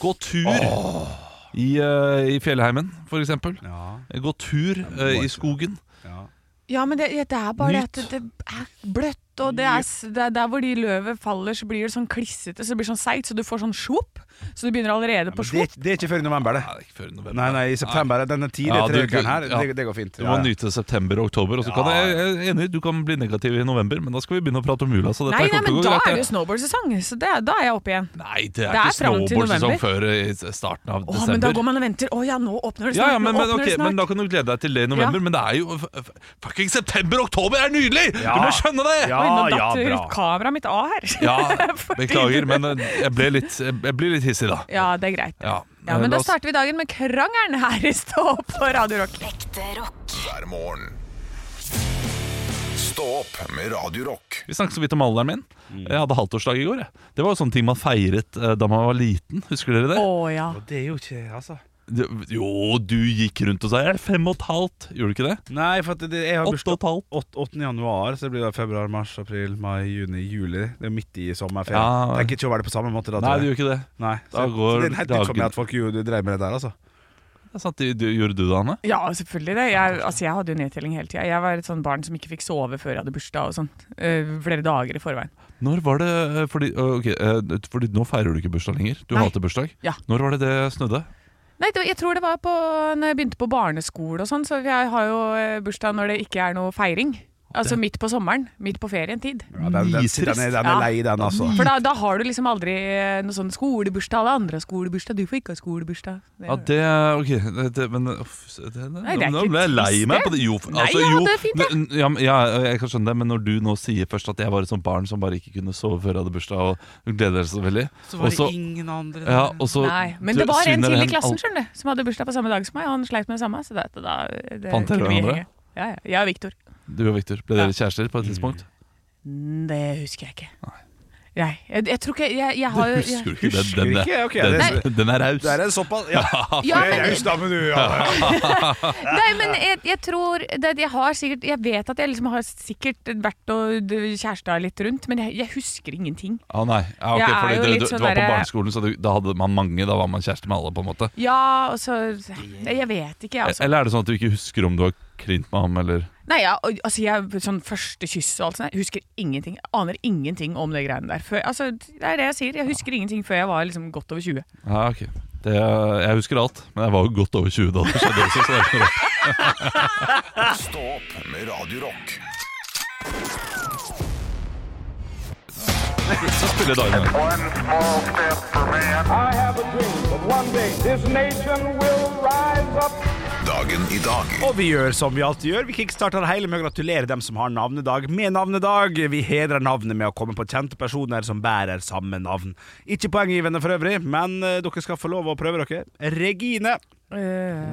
Speaker 3: Gå tur i, eh, i fjellheimen, for eksempel.
Speaker 5: Ja,
Speaker 3: Gå tur eh, i skogen.
Speaker 5: ja.
Speaker 4: Ja, men det, ja, det er bare det
Speaker 3: Nyt.
Speaker 4: at det er bløtt, vått, og det er, s- det er der hvor de løvet faller, så blir det sånn klissete, så det blir sånn seigt, så du får sånn svopp. Så du begynner allerede på
Speaker 2: Det,
Speaker 4: svopp.
Speaker 2: er- det er ikke før i november, det.
Speaker 3: Nei, det er ikke før i november.
Speaker 2: Nei, nei, i september. Denne tidlige
Speaker 3: Ja,
Speaker 2: ja,
Speaker 3: du-
Speaker 2: treukeren her,
Speaker 3: ja.
Speaker 2: det, det går fint.
Speaker 3: Du må
Speaker 2: Ja, ja.
Speaker 3: nyte september og oktober. Og så kan jeg, jeg er enig, Du kan bli negativ i november, men da skal vi begynne å prate om jula. Så dette
Speaker 4: Nei, nei,
Speaker 3: kommer til å gå
Speaker 4: men da
Speaker 3: greit, det.
Speaker 4: er det jo snowboardsesong, så det, er- da er jeg oppe igjen.
Speaker 3: Nei, det er,
Speaker 4: Det er
Speaker 3: ikke
Speaker 4: fram til
Speaker 3: snowboardsesong
Speaker 4: november.
Speaker 3: før i starten av
Speaker 4: Å,
Speaker 3: desember.
Speaker 4: men da går man og venter. Å ja, nå åpner det
Speaker 3: ja,
Speaker 4: snart.
Speaker 3: ja, men,
Speaker 4: nå
Speaker 3: men,
Speaker 4: åpner
Speaker 3: ok,
Speaker 4: det snart.
Speaker 3: men da kan du glede deg til det i november.
Speaker 4: Ja.
Speaker 3: Men det er jo f- f- Fucking september-oktober er nydelig!
Speaker 2: Ja.
Speaker 3: Du må skjønne det!
Speaker 2: Ja,
Speaker 4: Oi, nå
Speaker 2: ja,
Speaker 4: datt
Speaker 2: bra.
Speaker 4: kameraet mitt av her.
Speaker 3: Ja,
Speaker 4: Fordi-
Speaker 3: beklager, men eh, jeg ble litt, jeg blir litt hissig da.
Speaker 4: Ja, det er greit.
Speaker 3: Ja, eh,
Speaker 4: Ja, men
Speaker 3: la
Speaker 4: Da
Speaker 3: oss-
Speaker 4: starter vi dagen med krangelen her i Stå opp på Radio Rock.
Speaker 6: Ekte rock.
Speaker 1: hver morgen. Stå opp med Radio Rock.
Speaker 3: Vi snakket så vidt om alderen min.
Speaker 2: Mm.
Speaker 3: Jeg hadde halvtårsdag i går. Jeg. Det var jo sånne ting man feiret eh, da man var liten. Husker dere det?
Speaker 4: Å ja.
Speaker 2: Det er jo ikke altså.
Speaker 3: Det- Jo, du gikk rundt og sa 'jeg er fem og et halvt'. Gjorde du ikke det?
Speaker 2: Nei, for at det, jeg har
Speaker 3: Åtte og
Speaker 2: bursdag
Speaker 3: et halvt.
Speaker 2: 8, 8. januar, så det blir da februar, mars, april, mai, juni, juli. Det er jo midt i sommerferien.
Speaker 3: Ja.
Speaker 2: Tenker ikke å være det på samme måte da.
Speaker 3: Nei,
Speaker 2: tror jeg.
Speaker 3: du gjorde ikke det.
Speaker 2: Nei. Så,
Speaker 3: da går
Speaker 2: så det er helt nytt for
Speaker 3: dagen-
Speaker 2: meg at folk jo- drev med det der, altså.
Speaker 3: Det er sant, det, det gjorde du det, Anne?
Speaker 4: Ja, selvfølgelig det. Jeg, altså, jeg hadde jo nedtelling hele tida. Jeg var et sånt barn som ikke fikk sove før jeg hadde bursdag og sånt. Eh, flere dager i forveien.
Speaker 3: Når var det eh, fordi, eh, ok, eh, fordi nå feirer du ikke bursdag lenger. Du
Speaker 4: Nei.
Speaker 3: hater bursdag.
Speaker 4: Ja.
Speaker 3: Når var det det snødde?
Speaker 4: Nei, det, jeg tror det var på når jeg begynte på barneskole og sånn, så jeg har jo eh, bursdag når det ikke er noe feiring. Altså midt på sommeren. Midt på ferientid.
Speaker 2: Ja, den, den, den, er, den er
Speaker 4: Ja.
Speaker 2: lei, den, altså.
Speaker 4: For da, da har du liksom aldri eh, noe sånn skolebursdag. Alle andre har skolebursdag, du får ikke ha skolebursdag. Det-
Speaker 3: Ja, det Ok, det, det, men uff, det, det,
Speaker 4: Nei, det er
Speaker 3: Nå
Speaker 4: ikke
Speaker 3: ble jeg lei
Speaker 4: trist,
Speaker 3: meg
Speaker 4: det.
Speaker 3: på det. Jo,
Speaker 4: Nei, jeg hadde det fint, jeg.
Speaker 3: n- ja, men- ja, jeg kan skjønne det, men når du nå sier først at jeg var et sånt barn som bare ikke kunne sove før jeg hadde bursdag, og gleder deg så veldig og så-
Speaker 2: ingen andre
Speaker 3: ja, og så
Speaker 4: Nei, men
Speaker 3: du-
Speaker 4: det var en
Speaker 3: svinner
Speaker 4: til i
Speaker 3: hen
Speaker 4: klassen
Speaker 3: alt-
Speaker 4: skjønner du, som hadde bursdag på samme dag som meg, og han sleit med det samme. Så det, da, det
Speaker 3: Fant dere
Speaker 4: kunne vi
Speaker 3: hverandre?
Speaker 4: henge. Ja, ja. Jeg og Viktor.
Speaker 3: Du og Victor, ble dere kjærester på et
Speaker 4: Mm.
Speaker 3: tidspunkt?
Speaker 4: Det husker jeg ikke. Nei, jeg, jeg tror ikke Jeg, jeg har jo
Speaker 3: Husker du
Speaker 4: jeg,
Speaker 3: ikke den?
Speaker 2: Husker
Speaker 3: Den,
Speaker 2: ikke, ok,
Speaker 3: den,
Speaker 2: det-
Speaker 3: den, den er raus.
Speaker 2: Det er en såpass Ja,
Speaker 4: Ja,
Speaker 2: jeg
Speaker 4: men-
Speaker 2: husker det, men du ja.
Speaker 4: Nei, men jeg, jeg tror det, Jeg har sikkert Jeg vet at jeg liksom har sikkert vært og d- kjæresta litt rundt, men jeg, jeg husker ingenting.
Speaker 3: Å nei, ja, ok,
Speaker 4: Jeg er
Speaker 3: fordi
Speaker 4: jo
Speaker 3: du,
Speaker 4: litt
Speaker 3: du,
Speaker 4: sånn
Speaker 3: du var på
Speaker 4: derre-
Speaker 3: barneskolen, så du, da hadde man mange. Da var man kjæreste med alle, på en måte.
Speaker 4: Ja, og så Nei, Jeg vet ikke, jeg, altså.
Speaker 3: Eller er det sånn at du ikke husker om du har klint med ham, eller
Speaker 4: Nei, ja, og- altså jeg, sånn første kyss og alt sånt, jeg husker ingenting. Jeg aner ingenting om det greiene der. Før, altså, det er det jeg sier. Jeg husker ingenting før jeg var liksom godt over 20.
Speaker 3: Ja, ok. Det, jeg husker alt, men jeg var jo godt over 20 da det skjedde også. Så det er ikke noe rart.
Speaker 1: Stå opp med Radio Rock.
Speaker 3: Så spiller jeg dagen igjen.
Speaker 7: One small step for man.
Speaker 8: I have a dream that one day this nation will rise up.
Speaker 1: Dagen i dag
Speaker 2: Og vi gjør som vi alltid gjør. Vi kickstarter hele med å gratulere dem som har navnedag med navnedag. Vi hedrer navnet med å komme på kjente personer som bærer samme navn. Ikke poenggivende for øvrig, men eh, dere skal få lov å prøve dere. Regine
Speaker 4: Eh,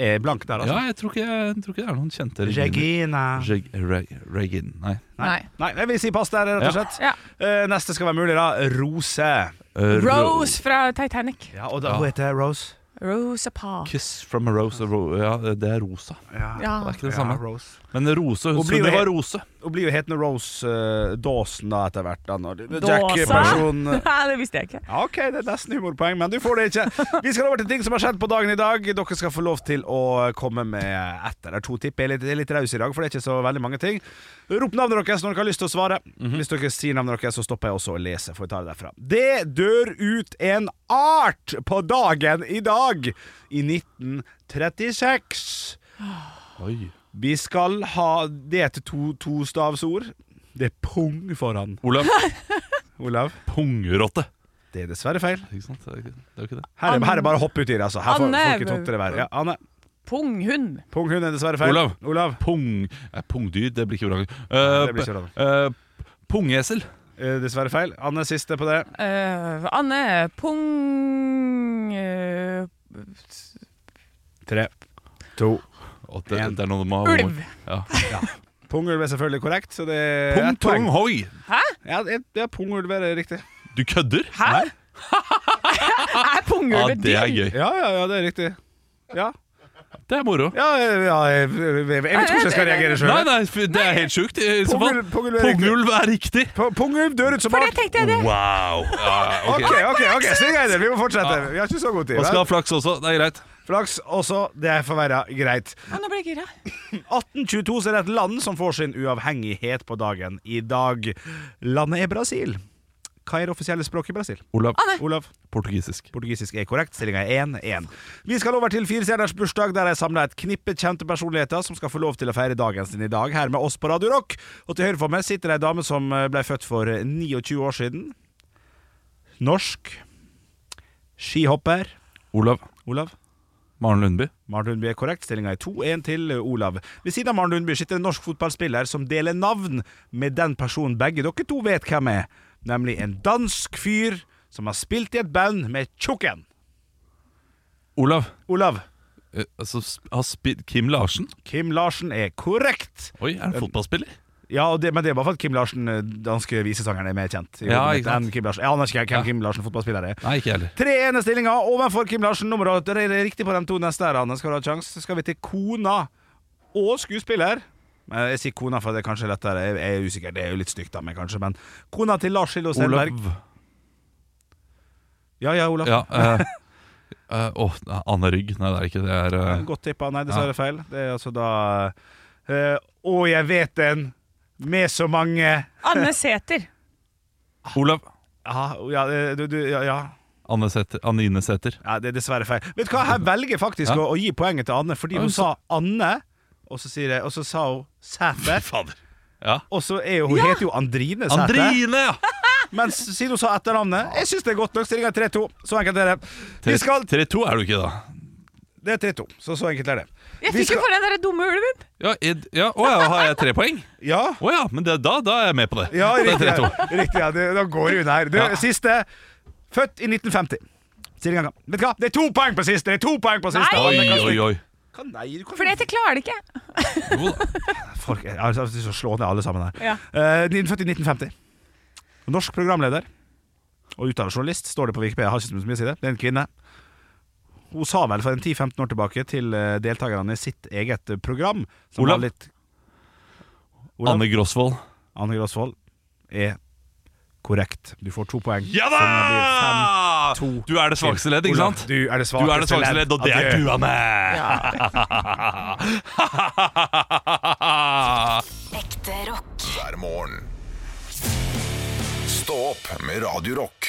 Speaker 2: er blank der,
Speaker 3: Ja,
Speaker 2: altså.
Speaker 3: jeg tror, ikke, jeg tror ikke det er noen kjente Regine.
Speaker 2: Regine.
Speaker 3: Reg, Reg, Regin. Nei.
Speaker 4: Nei.
Speaker 2: Nei, jeg vil si pass der, rett og
Speaker 3: Ja.
Speaker 2: slett.
Speaker 4: Ja.
Speaker 2: Eh, Neste skal være mulig, da. Rose.
Speaker 3: Eh, Ro-
Speaker 4: Rose fra Titanic.
Speaker 2: Ja, og da, Hun heter Rose.
Speaker 4: Rosa Pa.
Speaker 3: Kiss from a rose. Ro, ja, det er rosa.
Speaker 4: Ja.
Speaker 3: Det er ikke det
Speaker 2: Ja,
Speaker 3: samme.
Speaker 2: Rose.
Speaker 3: Men rose,
Speaker 2: Og
Speaker 3: hun
Speaker 2: blir
Speaker 3: skulle
Speaker 2: jo
Speaker 3: være
Speaker 2: he-
Speaker 3: rose.
Speaker 2: Hun blir jo hetende Rose eh, Dawson da etter hvert. da, når-
Speaker 4: Dawson?
Speaker 2: Jack-person.
Speaker 4: Nei, det visste jeg ikke.
Speaker 2: Ja, Ok, det er nesten humorpoeng, men du får det ikke. Vi skal over til ting som har skjedd på dagen i dag. Dere skal få lov til å komme med ett eller to tipp. Jeg er litt, jeg er litt raus i dag, for det er ikke så veldig mange ting. Rop navnet deres når dere har lyst til å svare. Hvis dere sier navnet deres, så stopper jeg også å lese. For vi tar det derfra. Det dør ut en art på dagen i dag i 1936.
Speaker 3: Oi.
Speaker 2: Vi skal ha det til to tostavsord. Det er pung foran,
Speaker 3: Olav.
Speaker 2: Olav.
Speaker 3: Pungrotte.
Speaker 2: Det er dessverre feil.
Speaker 3: Ikke sant? Det er ikke det. Er ikke det.
Speaker 2: Her er, her er bare å hoppe uti det, altså. Her får
Speaker 4: Anne-
Speaker 2: folk i totter det være. Ja, Anne.
Speaker 4: Punghund.
Speaker 2: Punghund er dessverre feil.
Speaker 3: Olav. Pung... Nei, pungdyr, det blir ikke bra.
Speaker 2: Nei, det blir ikke
Speaker 3: Eh, eh, pungesel.
Speaker 2: Eh, dessverre feil. Anne siste på det.
Speaker 4: Eh, Anne Pung... eh,
Speaker 2: Tre, to
Speaker 3: Å, det,
Speaker 2: En.
Speaker 3: det er noe med
Speaker 4: ulv.
Speaker 3: Ja.
Speaker 2: Pungulv er selvfølgelig korrekt, så det er
Speaker 3: Pung
Speaker 2: ett poeng.
Speaker 3: tong hoi!
Speaker 2: Ja, et, ja pungulv er riktig.
Speaker 3: Du kødder?
Speaker 4: Hæ? er
Speaker 3: Ja,
Speaker 4: pungulv et
Speaker 3: det er
Speaker 4: dyr?
Speaker 3: gøy.
Speaker 2: Ja, ja, ja, det er riktig. Ja.
Speaker 3: Det er moro.
Speaker 2: Ja, ja jeg, jeg vet ikke hvordan jeg skal reagere sjøl.
Speaker 3: Nei, nei, f- det er helt sjukt. I så fall.
Speaker 2: Pungulv- pungulv er riktig.
Speaker 3: Pungulv er riktig.
Speaker 2: Pungulv dør ut som
Speaker 4: For det
Speaker 2: art.
Speaker 4: tenkte jeg det.
Speaker 3: Wow. Ja,
Speaker 2: Ok,
Speaker 3: ok.
Speaker 2: ok, ok, Stig Eider, vi må fortsette. Vi har ikke så god tid.
Speaker 3: Man skal ha
Speaker 2: vel?
Speaker 3: flaks også. Det er greit.
Speaker 2: Flaks også. Det er forverra. Greit.
Speaker 4: Å, nå ble jeg gira.
Speaker 2: 1822 så er det et land som får sin uavhengighet på dagen i dag. Landet er Brasil. Hva er det offisielle språket i Brasil?
Speaker 3: Olav.
Speaker 2: Olav?
Speaker 3: Portugisisk.
Speaker 2: Portugisisk er korrekt. Stillinga er 1-1. Vi skal over til firestjerners bursdag, der jeg samla et knippe kjente personligheter som skal få lov til å feire dagen sin i dag, her med oss på Radio Rock. Og til høyre for meg sitter ei dame som eh, ble født for 29 år siden. Norsk. Skihopper.
Speaker 3: Olav.
Speaker 2: Olav.
Speaker 3: Maren Lundby.
Speaker 2: Maren Lundby er korrekt. Stillinga er 2-1 til eh, Olav. Ved siden av Maren Lundby sitter en norsk fotballspiller som deler navn med den personen begge dere to vet hvem er, nemlig en dansk fyr som har spilt i et band med Tjukken.
Speaker 3: Olav.
Speaker 2: Olav.
Speaker 3: Eh, Altså, sp- har spilt Kim Larsen? Eh,
Speaker 2: Kim Larsen er korrekt.
Speaker 3: Oi, er han fotballspiller?
Speaker 2: Ja, og det, men det er bare for at Kim Larsen, eh, danske visesangeren, er mer kjent. i
Speaker 3: Ja,
Speaker 2: hodet mitt
Speaker 3: ikke sant.
Speaker 2: enn Kim Larsen. Jeg aner ikke hvem
Speaker 3: Ja.
Speaker 2: Kim Larsen fotballspiller er.
Speaker 3: Nei, ikke jeg heller.
Speaker 2: Tre ene stillinger overfor Kim Larsen. Nummeret det er riktig på de to neste her, Anne. Skal du ha sjans? Så skal vi til kona og skuespiller. Eh, Jeg sier kona, for det er kanskje lettere. Jeg jeg er usikker. Det er jo litt stygt av meg, kanskje. Men kona til Lars Hildo Stenberg.
Speaker 3: Olav.
Speaker 2: Ja, ja, Olav.
Speaker 3: Ja. eh, eh, Åh, Anne Rygg. Nei, det er ikke det. det. er eh,
Speaker 2: Godt tippa. Nei, dessverre feil. Det er altså da eh, Å, jeg vet en med så mange
Speaker 4: Anne Sæther.
Speaker 3: Olav.
Speaker 2: Ja, ja, eh, du, du, ja, ja.
Speaker 3: Anne Sæther. Anine Sæther.
Speaker 2: Ja, det er dessverre feil. Vet du hva, Her velger jeg faktisk
Speaker 3: Ja.
Speaker 2: å, å gi poenget til Anne, fordi
Speaker 3: Ja,
Speaker 2: hun
Speaker 3: hun
Speaker 2: sa Anne, og så, sier jeg, og så sa hun Sæter.
Speaker 3: Fader. Ja.
Speaker 2: Og så er jo, hun heter jo Andrine Sæter.
Speaker 3: Andrine, ja!
Speaker 2: Men s- siden hun sa etternavnet Jeg syns det er godt nok. Stillinga er 3-2. Så enkelt er det. Vi skal,
Speaker 3: 3-2 er du ikke, da.
Speaker 2: det er 3-2, så så enkelt er det.
Speaker 4: Jeg
Speaker 2: Vi
Speaker 4: fikk
Speaker 2: skal-
Speaker 4: jo for den der dumme ulven.
Speaker 3: Ja, ed, ja. Å ja, har jeg tre poeng?
Speaker 2: Ja,
Speaker 3: Å ja, men det, da, da er jeg med på det.
Speaker 2: ja
Speaker 3: det
Speaker 2: riktig.
Speaker 3: er 3-2.
Speaker 2: riktig ja. Det, da går det unna her. Du,
Speaker 3: Ja.
Speaker 2: Siste. Født i 1950. Stillinga Vet du hva, det er to poeng på siste! Det er to poeng på siste.
Speaker 4: Nei!
Speaker 3: Oi,
Speaker 2: Anne, kan
Speaker 3: oi,
Speaker 2: snu-
Speaker 3: oi.
Speaker 2: Kan- Nei, du kan-
Speaker 4: For dette klarer det ikke.
Speaker 3: Jo da.
Speaker 2: Folk, jeg har lyst til å slå ned alle sammen her.
Speaker 4: Ja.
Speaker 2: Eh, 1940 1950. Norsk programleder og utdannet journalist, står det på Wikipedia. Har ikke så mye å si det. Det er en kvinne. Hun sa vel for en 10-15 år tilbake til eh, deltakerne i sitt eget eh, program som
Speaker 3: Olav.
Speaker 2: var litt Olav.
Speaker 3: Anne Grosvold.
Speaker 2: Anne Grosvold er korrekt. Du får to poeng.
Speaker 3: Ja da!
Speaker 2: Så det blir fem, to,
Speaker 3: Du er det svakeste ledd, ikke
Speaker 2: Olav,
Speaker 3: sant?
Speaker 2: Du er det
Speaker 3: Du er det
Speaker 2: svakeste
Speaker 3: svakeste ledd, og det er
Speaker 2: Adjø.
Speaker 3: du, Anne!
Speaker 6: Ekte rock.
Speaker 1: hver morgen. Stå opp med Radio Rock.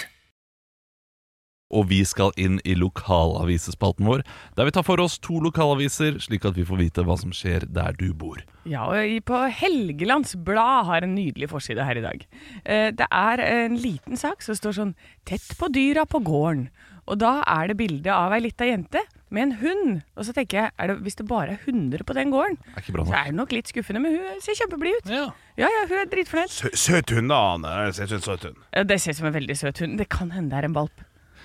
Speaker 3: og vi skal inn i lokalavisespalten vår, der vi tar for oss to lokalaviser, slik at vi får vite hva som skjer der du bor.
Speaker 4: Ja, og i- på Helgelands Blad har en nydelig forside her i dag. Eh, Det er en liten sak som står sånn 'Tett på dyra på gården'. Og da er det bilde av ei lita jente med en hund. Og så tenker jeg, er det, hvis det bare er hunder på den gården,
Speaker 3: Er ikke bra
Speaker 4: så
Speaker 3: nok.
Speaker 4: er det nok litt skuffende, men hun ser kjempeblid ut.
Speaker 3: Ja.
Speaker 4: Ja, ja, hun er dritfornøyd.
Speaker 2: Sø- Søt hund, da, Anne. Jeg synes hun er Søt hund.
Speaker 4: Eh, Det ser ut som en veldig søt hund. Det kan hende det er en valp.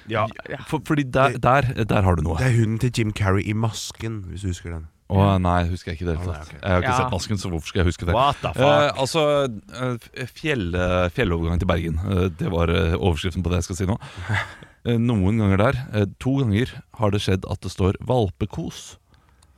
Speaker 2: Ja.
Speaker 3: For, fordi der, der, der har du noe.
Speaker 5: Det er hunden til Jim Carrey i Masken, hvis du husker den.
Speaker 3: Å nei, husker jeg ikke det. hele tatt. Jeg har ikke
Speaker 4: Ja.
Speaker 3: sett Masken, så hvorfor skal jeg huske det?
Speaker 2: What the fuck?
Speaker 3: Eh, altså, eh, fjell, eh, fjellovergang til Bergen. Eh, det var eh, overskriften på det jeg skal si nå. Eh, noen ganger der, eh, to ganger, har det skjedd at det står 'valpekos'.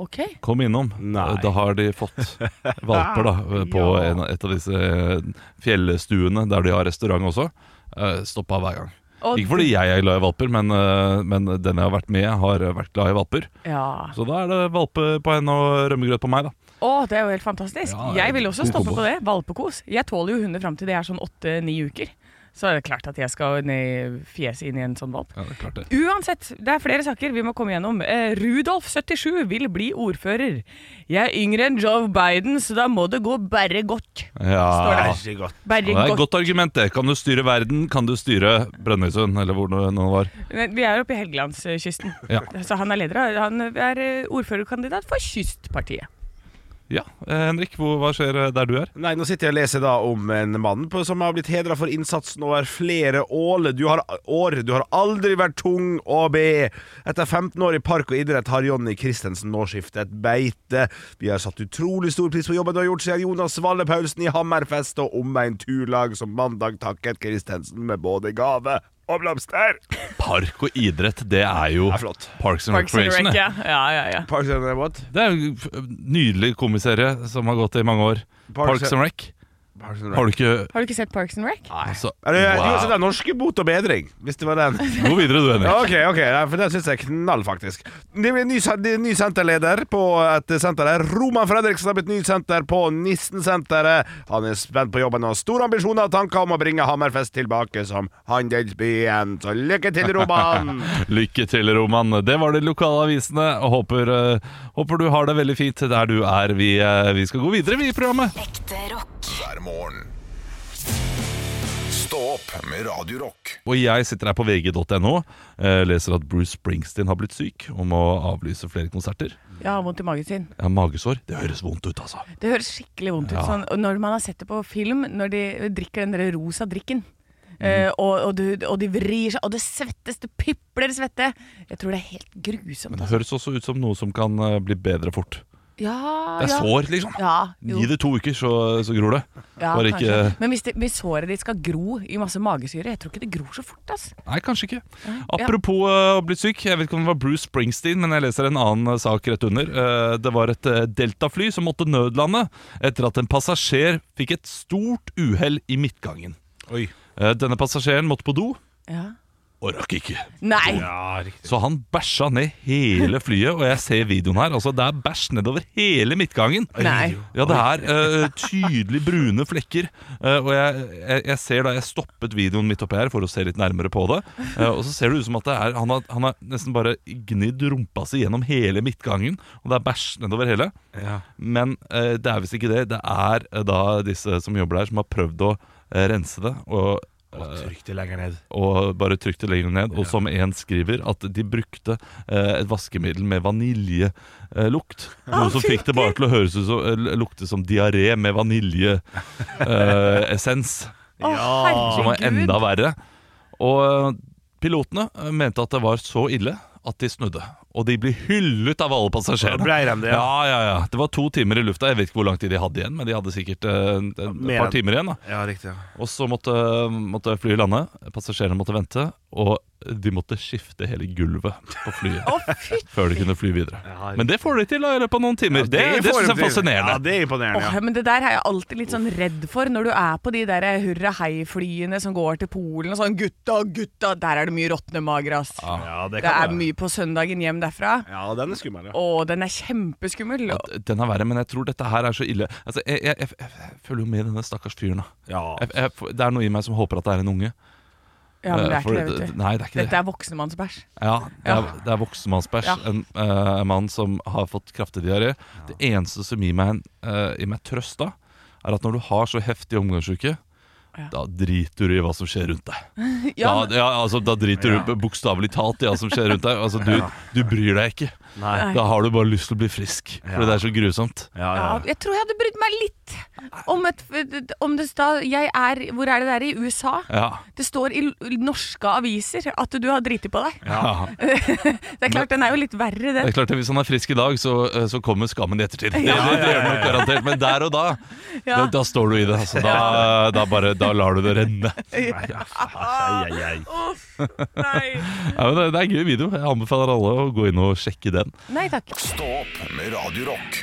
Speaker 4: Ok.
Speaker 3: Kom innom. Eh,
Speaker 5: Nei.
Speaker 3: Da har de fått valper da på
Speaker 2: Ja.
Speaker 3: en, et av disse eh, fjellstuene der de har restaurant også. Eh, Stoppa hver gang.
Speaker 4: Og
Speaker 3: Ikke fordi jeg er glad i valper, men, eh, men den jeg har vært med, har vært glad i valper.
Speaker 4: Ja.
Speaker 3: Så da er det valpe på henne og rømmegrøt på meg, da.
Speaker 4: Å, det er jo helt fantastisk.
Speaker 3: Ja,
Speaker 4: jeg vil også
Speaker 3: god
Speaker 4: stoppe
Speaker 3: kombo.
Speaker 4: på det. Valpekos. Jeg tåler jo hunder fram til de er sånn åtte-ni uker. Så er det klart at jeg skal ned i fjeset inn i en sånn valp.
Speaker 3: Ja, det er klart det.
Speaker 4: Uansett, det er flere saker vi må komme gjennom. Eh, Rudolf, 77, vil bli ordfører. Jeg er yngre enn Joe Biden, så da må det gå bare godt.
Speaker 3: Ja.
Speaker 4: Står
Speaker 2: Herregud.
Speaker 4: Bare
Speaker 3: Det er et
Speaker 4: godt.
Speaker 3: godt argument, det. Kan du styre verden, kan du styre Brønnøysund, eller hvor det nå var.
Speaker 4: Men Vi er oppe i Helgelandskysten,
Speaker 3: Ja.
Speaker 4: så han er leder. av- Han er eh, ordførerkandidat for Kystpartiet.
Speaker 3: Ja, eh, Henrik, hvor, hva skjer eh, der du er?
Speaker 2: Nei, nå sitter jeg og leser da om en mann på, som har blitt hedra for innsatsen over flere ål. Du har, år. Du har aldri vært tung og be. Etter 15 år i park og idrett har Jonny Christensen nå skiftet beite. Vi har satt utrolig stor pris på jobben du har gjort, sier Jonas Valle Paulsen i Hammerfest og omegn turlag, som mandag takket Christensen med både gave og blomster.
Speaker 3: Park og idrett, det er jo
Speaker 2: Det er flott.
Speaker 3: Parks and
Speaker 4: Parks and Rec,
Speaker 3: Recreation. det.
Speaker 4: ja. Ja, ja, ja.
Speaker 2: Parks and what?
Speaker 3: Det er jo f- nydelig komiserie som har gått i mange år.
Speaker 2: Parks
Speaker 3: Parks and Rec.
Speaker 2: Parks and Rec.
Speaker 3: Har du ikke
Speaker 4: Har du ikke sett Parks and Rec?
Speaker 3: altså,
Speaker 2: Er det,
Speaker 3: wow.
Speaker 2: jo, så det er norske bot og bedring, hvis det var den.
Speaker 3: Gå videre, du, Henrik.
Speaker 2: Ja, Ok, ok, Nei, for den syns jeg er knall, faktisk. Det blir ny, sen- det er ny senterleder på et senter her. Roman Fredriksen har blitt ny senter på Nissen-senteret. Han er spent på jobben og har store ambisjoner og tanker om å bringe Hammerfest tilbake som handelsbyen. Så lykke til, Roman!
Speaker 3: Lykke til, Roman. Det var de lokale avisene. og Håper, eh, håper du har det veldig fint der du er. Vi, eh, vi skal gå videre vi, i programmet.
Speaker 6: Ekte rock.
Speaker 1: hver morgen. Stå opp med Radio Rock.
Speaker 3: Og jeg sitter her på vg.no. eh, Leser at Bruce Springsteen har blitt syk og må avlyse flere konserter.
Speaker 4: Jeg har vondt i magen sin.
Speaker 3: Jeg har magesår. Det høres vondt ut, altså.
Speaker 4: Det høres skikkelig vondt ut.
Speaker 3: Ja.
Speaker 4: Sånn, og når man har sett det på film, når de drikker den der rosa drikken.
Speaker 3: Mm.
Speaker 4: eh, og, og, du, og de vrir seg, og det svettes, det pipler svette. Jeg tror det er helt grusomt.
Speaker 3: Men det
Speaker 4: altså.
Speaker 3: høres også ut som noe som kan eh, bli bedre fort.
Speaker 4: Ja,
Speaker 3: Det er
Speaker 4: ja.
Speaker 3: sår, liksom.
Speaker 4: Ja, jo,
Speaker 3: Gi det to uker, så, så gror det.
Speaker 4: ja,
Speaker 3: bare ikke-
Speaker 4: kanskje. Men hvis, det, hvis såret ditt skal gro i masse magesyre, jeg tror ikke det gror så fort. ass.
Speaker 3: Nei, kanskje ikke. Apropos eh, å bli syk. Jeg vet ikke om det var Bruce Springsteen, men jeg leser en annen eh, sak rett under. Eh, Det var et eh, deltafly som måtte nødlande etter at en passasjer fikk et stort uhell i midtgangen.
Speaker 2: Oi.
Speaker 3: Eh, Denne passasjeren måtte på do
Speaker 4: Ja.
Speaker 3: og rakk ikke.
Speaker 4: Nei!
Speaker 2: Ja, riktig.
Speaker 3: Så han bæsja ned hele flyet, og jeg ser videoen her. Altså, Det er bæsj nedover hele midtgangen.
Speaker 4: Nei.
Speaker 3: Ja, det er eh, tydelig brune flekker. eh, og jeg, jeg, jeg ser da jeg stoppet videoen midt oppi her for å se litt nærmere på det. eh, og så ser det ut som at det er, han, har, han har nesten bare gnidd rumpa si gjennom hele midtgangen, og det er bæsj nedover hele.
Speaker 2: Ja.
Speaker 3: Men eh, det er visst ikke det. Det er eh, da disse som jobber der, som har prøvd å eh, rense det. Og eh,
Speaker 2: Og Trykk det lenger ned.
Speaker 3: og bare trykk det lenger ned. Og som en skriver, at de brukte eh, et vaskemiddel med vaniljelukt. Eh, lukt. noe som fikk det bare til å høres ut som, eh, lukte som diaré med vaniljeessens. Eh, essens,
Speaker 4: Å,
Speaker 3: som var enda
Speaker 4: herregud.
Speaker 3: verre. Og eh, pilotene eh, mente at det var så ille at de snudde. Og de blir hyllet av alle
Speaker 2: Da
Speaker 3: passasjerene.
Speaker 2: blei de det, ja.
Speaker 3: Ja, ja, ja. Det var to timer i lufta. Jeg vet ikke hvor lang tid de hadde igjen, men de hadde sikkert eh, en- et
Speaker 2: Mer
Speaker 3: par
Speaker 2: enn-
Speaker 3: timer igjen. da
Speaker 2: Ja, riktig. ja.
Speaker 3: og så måtte, måtte flyet lande. Passasjerene måtte vente, og de måtte skifte hele gulvet på flyet
Speaker 4: Å, fy
Speaker 3: før de kunne fly videre.
Speaker 2: Ja,
Speaker 3: Men det får de til da, i løpet av noen timer. det det,
Speaker 2: får de
Speaker 3: syns jeg er
Speaker 2: til. Ja,
Speaker 3: fascinerende.
Speaker 2: det er imponerende.
Speaker 4: Åh,
Speaker 2: ja.
Speaker 4: men Det der er jeg alltid litt sånn redd for når du er på de der hurra hei-flyene som går til Polen og sånn Gutta, gutta! Der er det mye råtne mager, ass.
Speaker 2: Ja, det
Speaker 4: det,
Speaker 2: kan
Speaker 4: er
Speaker 2: være.
Speaker 4: mye på søndagen hjem derfra.
Speaker 2: Ja, den er skummel, ja.
Speaker 4: Å, den er kjempeskummel. Og-
Speaker 3: Den er verre, men jeg tror dette her er så ille. Altså, jeg, jeg, jeg, jeg føler jo med denne stakkars fyren. da
Speaker 2: Ja.
Speaker 3: jeg, jeg, Det er noe i meg som håper at det er en unge.
Speaker 4: Ja, men det er
Speaker 3: Eh, for
Speaker 4: ikke det, vet du.
Speaker 3: Nei, det er ikke det.
Speaker 4: Dette er voksenmannsbæsj.
Speaker 3: Ja, det er,
Speaker 4: Ja.
Speaker 3: det er voksenmannsbæsj.
Speaker 4: Ja.
Speaker 3: En eh, mann som har fått kraftig diaré. Det eneste som gir meg, en, eh, gir meg trøst da, er at når du har så heftig omgangsuke,
Speaker 4: Ja.
Speaker 3: da driter du i hva som skjer rundt deg.
Speaker 4: Ja,
Speaker 3: da, ja, altså, da driter du bokstavelig talt i hva som skjer rundt deg. Altså, du, du bryr deg ikke.
Speaker 2: Nei.
Speaker 3: Da har du bare lyst til å bli frisk, for det er så grusomt.
Speaker 2: Ja, ja.
Speaker 4: ja, jeg tror jeg hadde brydd meg litt om, et, om det da Jeg er Hvor er det der? I USA?
Speaker 3: Ja.
Speaker 4: Det står i l- norske aviser at du har driti på deg.
Speaker 3: Ja.
Speaker 4: Det er klart, den er jo litt verre,
Speaker 3: Det
Speaker 4: den.
Speaker 3: er klart at Hvis han er frisk i dag, så, eh, så kommer skammen i ettertid. Det, det, det gjør den nok garantert, Men der og da, da,
Speaker 4: Ja.
Speaker 3: da står du i det. Altså, da, da, bare, da lar du det renne.
Speaker 2: Ai, ai, ai.
Speaker 4: Uff, nei.
Speaker 3: Ja, men det, det er en gøy video. Jeg anbefaler alle å gå inn og sjekke den.
Speaker 4: nei takk.
Speaker 1: Stå opp med Radio Rock.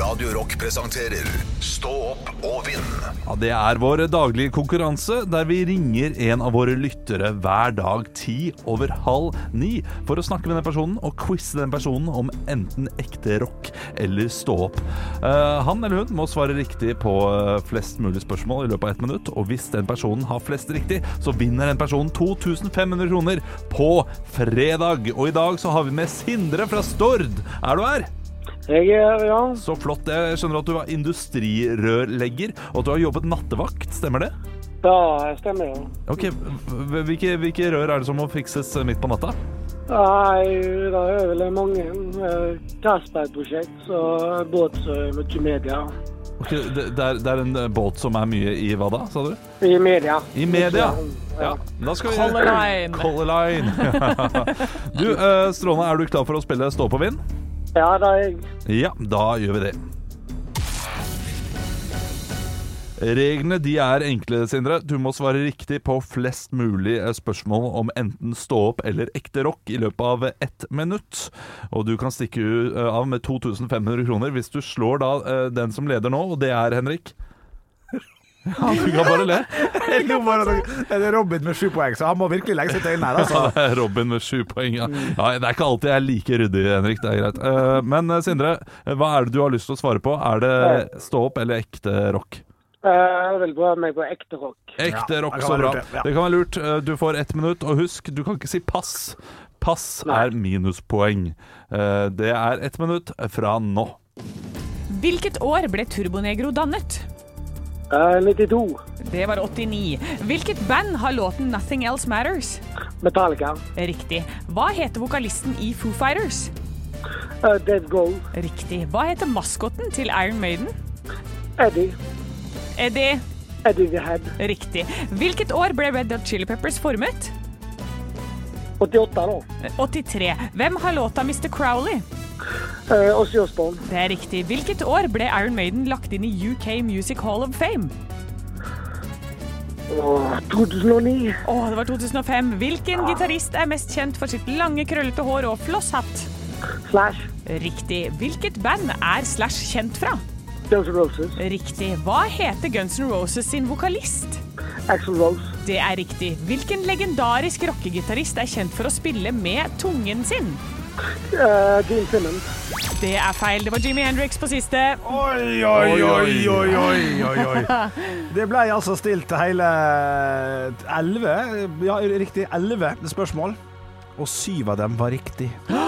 Speaker 1: Radio Rock presenterer Stå opp og vinn
Speaker 3: Ja, Det er vår daglige konkurranse, der vi ringer en av våre lyttere hver dag ti over halv ni for å snakke med den personen og quize den personen om enten ekte rock eller stå opp. Eh, han eller hun må svare riktig på eh, flest mulig spørsmål i løpet av ett minutt, og hvis den personen har flest riktig, så vinner den personen 2500 kroner på fredag. Og i dag så har vi med Sindre fra Stord. Er du her?
Speaker 9: Jeg er her, ja.
Speaker 3: Så flott. Jeg skjønner at du var industrirørlegger, og at du har jobbet nattevakt. Stemmer det?
Speaker 9: Ja, jeg stemmer, ja.
Speaker 3: Ok, hv- Hvilke, hvilke rør er det som må fikses eh, midt på natta?
Speaker 9: Nei, det er vel mange. eh, Castberg-prosjekt, så båt så er mye media.
Speaker 3: Ok, det, det, er, det er en eh, båt som er mye i hva da, sa du?
Speaker 9: I media.
Speaker 3: I media!
Speaker 9: Ja.
Speaker 3: Da skal vi
Speaker 4: Color Line.
Speaker 3: Color Line. du, eh, Stråne, er du klar for å spille Stå på vind?
Speaker 9: Ja, da er jeg.
Speaker 3: Ja, da gjør vi det. Reglene de er enkle, Sindre. Du må svare riktig på flest mulig eh, spørsmål om enten stå opp eller ekte rock i løpet av ett minutt. Og du kan stikke u- eh, av med 2500 kroner hvis du slår da eh, den som leder nå, og det er Henrik. Ja, du kan bare le.
Speaker 2: Nå var det, det er Robin med sju poeng, så han må virkelig legge seg til øynene her. Altså.
Speaker 3: Ja, Robin med sju poeng. Ja.
Speaker 2: Mm.
Speaker 3: Ja, det er ikke alltid jeg er like ryddig, Henrik. Det er greit. Eh, Men eh, Sindre, eh, hva er det du har lyst til å svare på? Er det
Speaker 2: Eh.
Speaker 3: stå opp eller ekte rock?
Speaker 9: Eh, Jeg vil prøve meg på ekte rock.
Speaker 3: Ekte
Speaker 2: Ja,
Speaker 3: rock,
Speaker 2: det kan
Speaker 3: så
Speaker 2: være
Speaker 3: bra.
Speaker 2: lurt, ja.
Speaker 3: Det kan være lurt. Eh, Du får ett minutt, og husk, du kan ikke si pass. Pass er minuspoeng. Eh, Det er ett minutt fra nå.
Speaker 4: Hvilket år ble Turbonegro dannet?
Speaker 9: Eh, 92.
Speaker 4: Det var 89. Hvilket band har låten 'Nothing Else Matters'?
Speaker 9: Metallica.
Speaker 4: Riktig. Hva heter vokalisten i Foo Fighters?
Speaker 9: Eh, Dead Gold.
Speaker 4: Riktig. Hva heter maskotten til Iron Maiden?
Speaker 9: Eddie.
Speaker 4: Eddie.
Speaker 9: Eddie the Head.
Speaker 4: Riktig. Hvilket år ble Red Hot Chili Peppers formet?
Speaker 9: 88 da.
Speaker 4: 83. Hvem har låta Mr. Crowley?
Speaker 9: Eh, Ozzy Osbourne.
Speaker 4: Det er riktig. Hvilket år ble Iron Maiden lagt inn i UK Music Hall of Fame?
Speaker 9: Åh, 2009.
Speaker 4: Å, det var 2005. Hvilken gitarist er mest kjent for sitt lange, krøllete hår og flosshatt?
Speaker 9: Slash.
Speaker 4: Riktig. Hvilket band er Slash kjent fra?
Speaker 9: Guns N' Roses.
Speaker 4: Riktig. Hva heter Guns N' Roses sin vokalist?
Speaker 9: Axl Rose.
Speaker 4: Det er riktig. Hvilken legendarisk rockegitarist er kjent for å spille med tungen sin?
Speaker 9: Eh, Gene Simmons.
Speaker 4: Det er feil. Det var Jimmy Hendrix på siste.
Speaker 2: Oi, oi, oi, oi, oi, oi, oi. Det ble altså stilt hele elleve, ja, riktig elleve spørsmål, og syv av dem var riktig.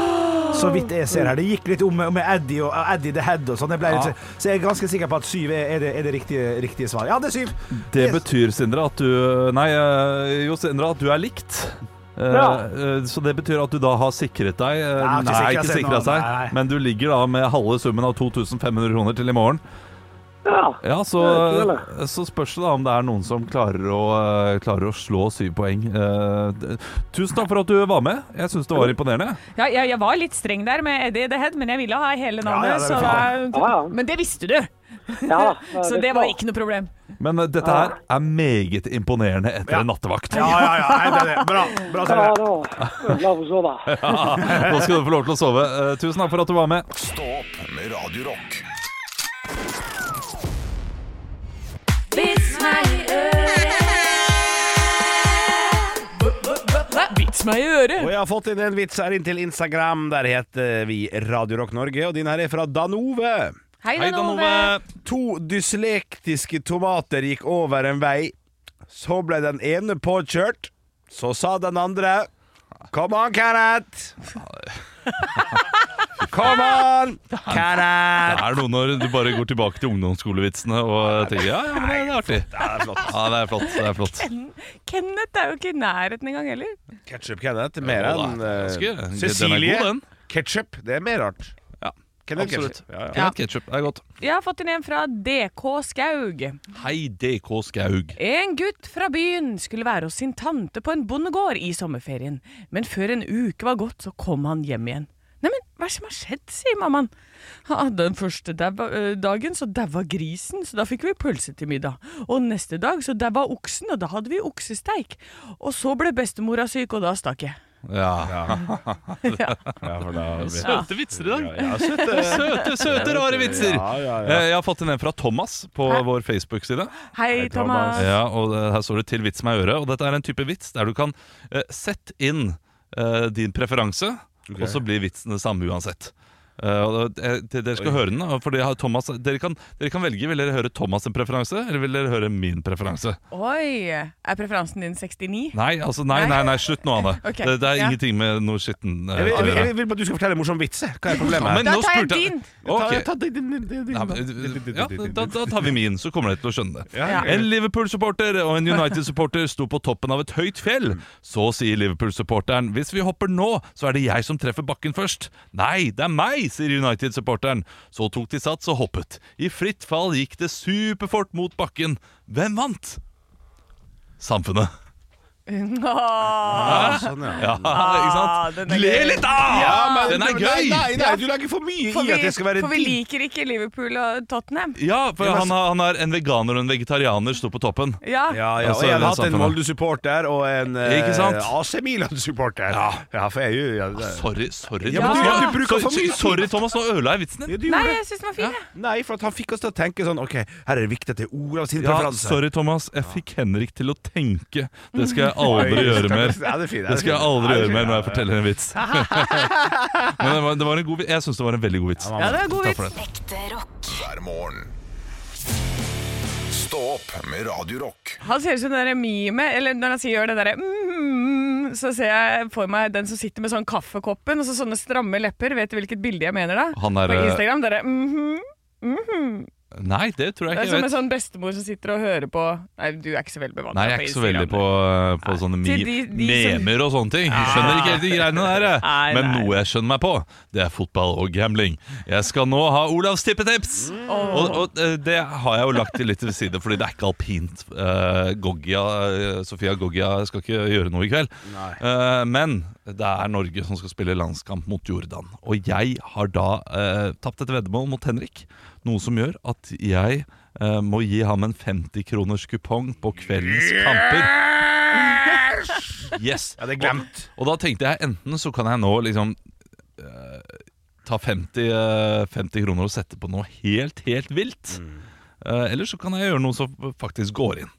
Speaker 2: Så vidt jeg ser her. Det gikk litt om med Eddie og Eddie the Head og sånn. Jeg ble litt- Så jeg er ganske sikker på at syv er, er det, er det riktige, riktige svar. Ja, det er syv.
Speaker 3: Det betyr, Sindre, at du Nei, eh, jo, Sindre, at du er likt. Eh,
Speaker 9: Ja.
Speaker 3: eh, Så det betyr at du da har sikret deg. eh,
Speaker 2: har ikke
Speaker 3: Nei,
Speaker 2: sikret
Speaker 3: ikke
Speaker 2: seg
Speaker 3: sikra
Speaker 2: nå,
Speaker 3: seg,
Speaker 2: nei.
Speaker 3: men du ligger da med halve summen av 2500 kroner til i morgen.
Speaker 9: Ja.
Speaker 3: Ja, så,
Speaker 9: Det er ikke
Speaker 3: så spørs det da om det er noen som klarer å, eh, klarer å slå syv poeng. Eh, d- Tusen takk for at du var med. Jeg syns det var imponerende.
Speaker 4: Ja, jeg, jeg var litt streng der med Eddie The Head, men jeg ville ha hele
Speaker 2: Ja, ja,
Speaker 4: navnet.
Speaker 2: det er
Speaker 4: så
Speaker 2: fint.
Speaker 4: da,
Speaker 9: Ja, ja.
Speaker 4: men det visste du,
Speaker 9: ja da. Ja,
Speaker 4: så det
Speaker 9: bra.
Speaker 4: var ikke noe problem.
Speaker 3: Men eh, dette her er meget imponerende etter en nattevakt.
Speaker 2: Ja, ja, ja. Nei, det er det. Bra. Bra,
Speaker 9: Ja
Speaker 2: Sandra.
Speaker 9: da. Jeg er glad for å sove.
Speaker 3: Nå skal du få lov til å sove. Eh, Tusen takk for at du var med.
Speaker 1: Stå opp med Radio Rock.
Speaker 6: Vits meg i øret.
Speaker 4: Vits meg i øret!
Speaker 2: Og jeg har fått inn en vits her inn til Instagram. Der heter vi Radio Rock Norge, og din her er fra Danove.
Speaker 4: Hei, Dan Ove.
Speaker 2: To dyslektiske tomater gikk over en vei. Så ble den ene påkjørt. Så sa den andre Kom an, Kenneth! Kom an,
Speaker 3: Det
Speaker 2: Kenneth!
Speaker 3: er noe når du bare går tilbake til ungdomsskolevitsene og tenker ja, ja, men det er artig. Ja, det er flott. Det er flott.
Speaker 4: Kenneth er jo ikke i nærheten engang heller.
Speaker 2: Ketchup Kenneth er mer
Speaker 3: Ja, da.
Speaker 2: enn eh,
Speaker 3: Ganske- den er god,
Speaker 2: Cecilie.
Speaker 3: den.
Speaker 2: Ketchup, det er mer rart.
Speaker 3: Ja,
Speaker 2: Kenneth
Speaker 3: absolutt.
Speaker 2: Ketchup. Ja, ja.
Speaker 3: Ja. Ketchup er godt.
Speaker 4: Jeg har fått inn en fra DK Skaug.
Speaker 3: Hei, DK Skaug.
Speaker 4: En gutt fra byen skulle være hos sin tante på en bondegård i sommerferien, men før en uke var gått, så kom han hjem igjen. Neimen, hva er det som har skjedd, sier mammaen. «Ja, Den første daua- ø, dagen så daua grisen, så da fikk vi pølse til middag. Og neste dag så daua oksen, og da hadde vi oksesteik. Og så ble bestemora syk, og da stakk jeg.
Speaker 3: Ja.
Speaker 2: Ja, for da blir-
Speaker 3: Søte vitser i dag.
Speaker 2: ja, søte.
Speaker 3: Søte, søte, rare vitser.
Speaker 2: Ja, ja, ja.
Speaker 3: Eh, Jeg har fått inn en fra Thomas på vår Facebook-side.
Speaker 4: Hei,
Speaker 2: Thomas.
Speaker 4: Thomas.
Speaker 3: Ja, og eh, Her står det 'til vits meg i øret'. Og Dette er en type vits der du kan eh, sette inn eh, din preferanse, og så blir vitsen det samme uansett. Eh, og da- eh, de- Dere skal høre den, og fordi jeg har Thomas, dere, kan, dere kan velge. Vil dere høre Thomas' sin preferanse, eller vil dere høre min preferanse?
Speaker 4: Oi, er preferansen din 69?
Speaker 3: Nei, altså, nei, nei, nei slutt nå, Anne.
Speaker 4: Ok,
Speaker 3: det, det er
Speaker 4: ja.
Speaker 3: ingenting med noe skitten eh,
Speaker 2: Jeg vil-
Speaker 3: å
Speaker 2: jeg vil-
Speaker 3: gjøre.
Speaker 2: jeg vil bare at du skal fortelle en morsom vits. jeg. Hva er problemet?
Speaker 3: Ja, men
Speaker 4: Da
Speaker 3: nå
Speaker 4: tar jeg
Speaker 3: spurte
Speaker 4: din.
Speaker 3: Ok.
Speaker 2: Ta, ta, din, din, din, din,
Speaker 3: Ja,
Speaker 2: din,
Speaker 3: men, ja,
Speaker 2: din, din,
Speaker 3: da,
Speaker 2: din.
Speaker 3: da tar vi min, så kommer dere til å skjønne det.
Speaker 2: Ja.
Speaker 3: En Liverpool-supporter og en United-supporter sto på toppen av et høyt fjell. Så sier Liverpool-supporteren 'Hvis vi hopper nå, så er det jeg som treffer bakken først'. 'Nei, det er meg', sier United-supporteren. Så tok de sats og hoppet. I fritt fall gikk det superfort mot bakken. Hvem vant? Samfunnet.
Speaker 4: Åh.
Speaker 2: Ja, sånn, ja.
Speaker 3: Ja, ikke
Speaker 2: Ah,
Speaker 3: sant?
Speaker 4: den er
Speaker 3: Le
Speaker 4: gøy.
Speaker 3: litt, da!
Speaker 2: men-
Speaker 3: Den er gøy!
Speaker 2: Nei, nei, nei, du legger for mye
Speaker 4: For
Speaker 2: i at
Speaker 4: vi,
Speaker 2: det skal være
Speaker 4: for vi liker ikke Liverpool og Tottenham.
Speaker 3: Ja, for han, har- han er en veganer og en vegetarianer, sto på toppen.
Speaker 2: Ja,
Speaker 4: Ja,
Speaker 2: ja, og
Speaker 3: Altså,
Speaker 2: jeg har
Speaker 3: det er
Speaker 2: hatt en
Speaker 3: sant for meg.
Speaker 2: Molde-supporter og en eh,
Speaker 3: Ikke sant?
Speaker 2: AC Milan-supporter. Ja. for jeg er jo ja, det-
Speaker 3: Sorry, sorry.
Speaker 2: Ja,
Speaker 4: men
Speaker 3: Thomas.
Speaker 2: du
Speaker 4: du-
Speaker 2: bruker
Speaker 3: Sorry,
Speaker 2: for mye tid.
Speaker 3: Sorry, Thomas, nå ødela jeg vitsen din.
Speaker 2: ja, du
Speaker 4: Nei,
Speaker 2: gjorde det.
Speaker 4: jeg syns den var fin. jeg.
Speaker 2: Nei, for at han fikk oss til å tenke sånn Ok, her er det viktig at det er Olav sin
Speaker 3: Ja,
Speaker 2: preferanse.
Speaker 3: sorry, Thomas. Jeg fikk Henrik til å tenke. Det skal jeg aldri
Speaker 2: Oi,
Speaker 3: gjøre
Speaker 2: stakkars.
Speaker 3: mer.
Speaker 2: Ja, det er fint,
Speaker 3: Det skal jeg aldri gjøre mer når jeg
Speaker 2: forteller
Speaker 3: forteller en vits. Men det var, det var en god vits. Jeg syns det var en veldig god vits.
Speaker 4: Ja, det var en god
Speaker 3: Takk for
Speaker 4: vits.
Speaker 3: det.
Speaker 6: Ekte rock.
Speaker 1: hver morgen. Stå opp med Radio Rock.
Speaker 4: Han ser ut som den der mime, eller når han sier gjør det derre mm, Så ser jeg for meg den som sitter med sånn kaffekoppen og så sånne stramme lepper. Vet du hvilket bilde jeg mener da?
Speaker 3: Han er
Speaker 4: På
Speaker 3: eh,
Speaker 4: Instagram. Derre mhm. mhm.
Speaker 3: Nei, det tror jeg
Speaker 4: Det er
Speaker 3: ikke
Speaker 4: som
Speaker 3: jeg
Speaker 4: en
Speaker 3: vet.
Speaker 4: sånn bestemor som sitter og hører på Nei, du er ikke så veldig bevandret
Speaker 3: Nei, jeg er ikke så veldig på, eh, på sånne mi
Speaker 4: sånn- Til de- de som-
Speaker 3: memer og sånne ting. Jeg skjønner ikke helt de greiene der. jeg.
Speaker 4: Nei,
Speaker 3: Men
Speaker 4: nei.
Speaker 3: noe jeg skjønner meg på, det er fotball og gambling. Jeg skal nå ha Olavs tippetips!
Speaker 4: Mm.
Speaker 3: Og, og eh, det har jeg jo lagt til litt ved side, fordi det er ikke alpint. Eh, Goggia, eh, Sofia Goggia skal ikke gjøre noe i kveld. Eh, men det er Norge som skal spille landskamp mot Jordan. Og jeg har da uh, tapt et veddemål mot Henrik, noe som gjør at jeg eh, må gi ham en 50-kroners kupong på kveldens kamper. Yes!
Speaker 2: Ja, det er glemt.
Speaker 3: Og da tenkte jeg enten så kan jeg nå liksom eh, ta 50, eh, 50 kroner og sette på noe helt, helt vilt.
Speaker 2: Mm.
Speaker 3: Eh, eller så kan jeg gjøre noe som faktisk går inn.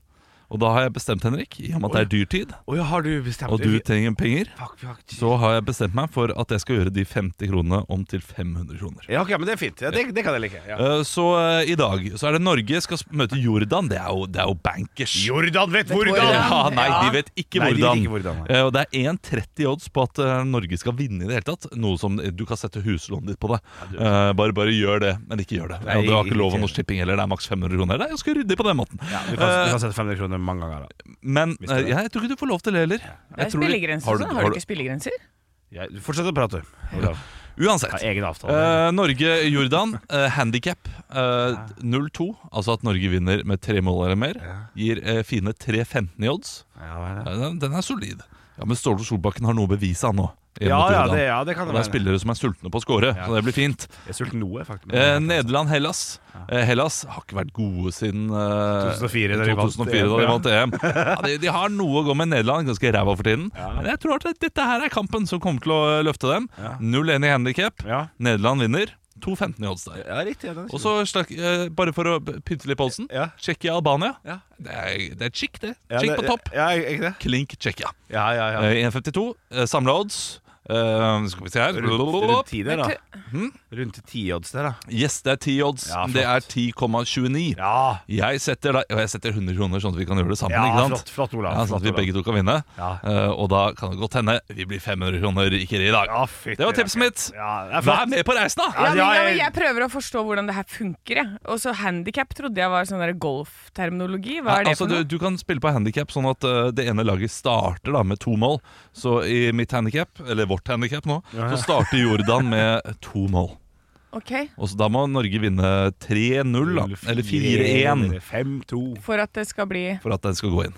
Speaker 3: Og da har jeg bestemt, Henrik, i og med at det er dyrtid,
Speaker 2: Å ja, har du bestemt
Speaker 3: og du trenger penger,
Speaker 2: Fuck, fuck.
Speaker 3: så har jeg bestemt meg for at jeg skal gjøre de 50 kronene om til 500 kroner.
Speaker 2: Ja, ok, men det er fint. Ja, det, det kan jeg like. Ja.
Speaker 3: Eh, Så eh, i dag så er det Norge skal sp- møte Jordan. Det er jo, det er jo bankers.
Speaker 2: Jordan vet
Speaker 3: Ja, nei, de vet ikke
Speaker 2: Nei, de vet
Speaker 3: hvordan.
Speaker 2: ikke hvordan, nei.
Speaker 3: Eh, og det er 1,30 odds på at eh, Norge skal vinne i det hele tatt. Noe som eh, Du kan sette huslånet ditt på det. Eh, bare, bare gjør det, men ikke gjør det.
Speaker 2: Nei,
Speaker 3: ja, du har
Speaker 2: ikke
Speaker 3: ikke lov
Speaker 2: gjør
Speaker 3: av Norsk Tipping heller. Det er maks 500 kroner. Det er ganske ryddig på den måten.
Speaker 2: Du kan, du kan sette 500 kroner mange ganger. da.
Speaker 3: Men
Speaker 2: Visste du
Speaker 3: eh, jeg tror ikke du får lov til det heller.
Speaker 4: Det
Speaker 3: Jeg
Speaker 4: er
Speaker 3: tror-
Speaker 4: spillegrenser.
Speaker 3: Har
Speaker 4: Har
Speaker 3: du-
Speaker 4: du,
Speaker 3: har
Speaker 4: har
Speaker 3: du-
Speaker 4: du ikke spillegrenser?
Speaker 2: Ja, fortsett å prate. Olav.
Speaker 3: Uansett.
Speaker 2: Ja, egen avtale.
Speaker 3: Eh, Norge-Jordan, uh, handikap 0-2, eh, altså at Norge vinner med tre mål eller mer, gir eh, fine 3-15 i odds.
Speaker 2: Ja, hva er det?
Speaker 3: Ja, den, den er solid. Ja, Men Ståle Solbakken har noe å bevise, han nå. Hjemme
Speaker 2: ja,
Speaker 3: mot
Speaker 2: ja,
Speaker 3: Jordan.
Speaker 2: det, ja, det kan
Speaker 3: Og
Speaker 2: det
Speaker 3: det er
Speaker 2: være.
Speaker 3: spillere som er sultne på å score, så det blir fint.
Speaker 2: Jeg er sulten nå, jeg, faktisk.
Speaker 3: Eh, Nederland-Hellas. Eh, Hellas har ikke vært gode siden eh,
Speaker 2: 2004 da de vant
Speaker 3: 2004, da de vant EM. Ja, de, de har noe å gå med Nederland, ganske ræva for tiden. Men jeg tror at dette her er kampen som kommer til å eh, løfte dem. 0-1 i handikap.
Speaker 2: Ja.
Speaker 3: Nederland vinner. 2-15 i odds der.
Speaker 2: Ja, riktig. Ja, den er
Speaker 3: Og så, slakk- eh, bare for å pynte litt på oddsen,
Speaker 2: Ja.
Speaker 3: Tsjekkia-Albania. Det er, det er chic, det.
Speaker 2: Ja,
Speaker 3: Chic
Speaker 2: det-
Speaker 3: på topp.
Speaker 2: Ja, er ikke det?
Speaker 3: Klink Tsjekkia.
Speaker 2: Ja, ja, ja.
Speaker 3: Eh, 1,52. Eh, Samla odds. Eh, skal vi se her
Speaker 2: Rundt, rundt ti der, da. Hm?
Speaker 4: Men
Speaker 2: Rundt ti odds der, da.
Speaker 3: Yes, det er 10 odds.
Speaker 2: Ja, flott.
Speaker 3: det er 10,29.
Speaker 2: Ja,
Speaker 3: Jeg setter, da, og jeg setter 100 kroner, sånn at vi kan gjøre det sammen.
Speaker 2: Ja,
Speaker 3: ikke sant?
Speaker 2: flott, flott, Olav,
Speaker 3: Ja, sånn
Speaker 2: flott,
Speaker 3: at vi
Speaker 2: Olav.
Speaker 3: begge to kan vinne.
Speaker 2: Ja.
Speaker 3: Eh, og da kan det godt hende vi blir 500 kroner rikere i dag.
Speaker 2: Ja, fytti
Speaker 3: det var tipset
Speaker 2: rakker.
Speaker 3: mitt.
Speaker 2: Ja, det er flott.
Speaker 3: Vær med på reisen, da!
Speaker 2: Ja,
Speaker 4: Ja, men,
Speaker 2: jeg-
Speaker 4: ja, men jeg prøver å forstå hvordan det her funker. jeg. Og så handikap trodde jeg var sånn der golfterminologi. Hva er det
Speaker 3: altså,
Speaker 4: for
Speaker 3: du,
Speaker 4: noe?
Speaker 3: du kan spille på handikap, sånn at eh, det ene laget starter da med to mål. Så i mitt handikap, eller vårt handikap nå, så starter Jordan med to mål.
Speaker 4: Ok,
Speaker 3: Og så Da må Norge vinne 3-0, da. Eller 4-1,
Speaker 2: 5-2.
Speaker 4: For at det skal bli
Speaker 3: for at den skal gå inn.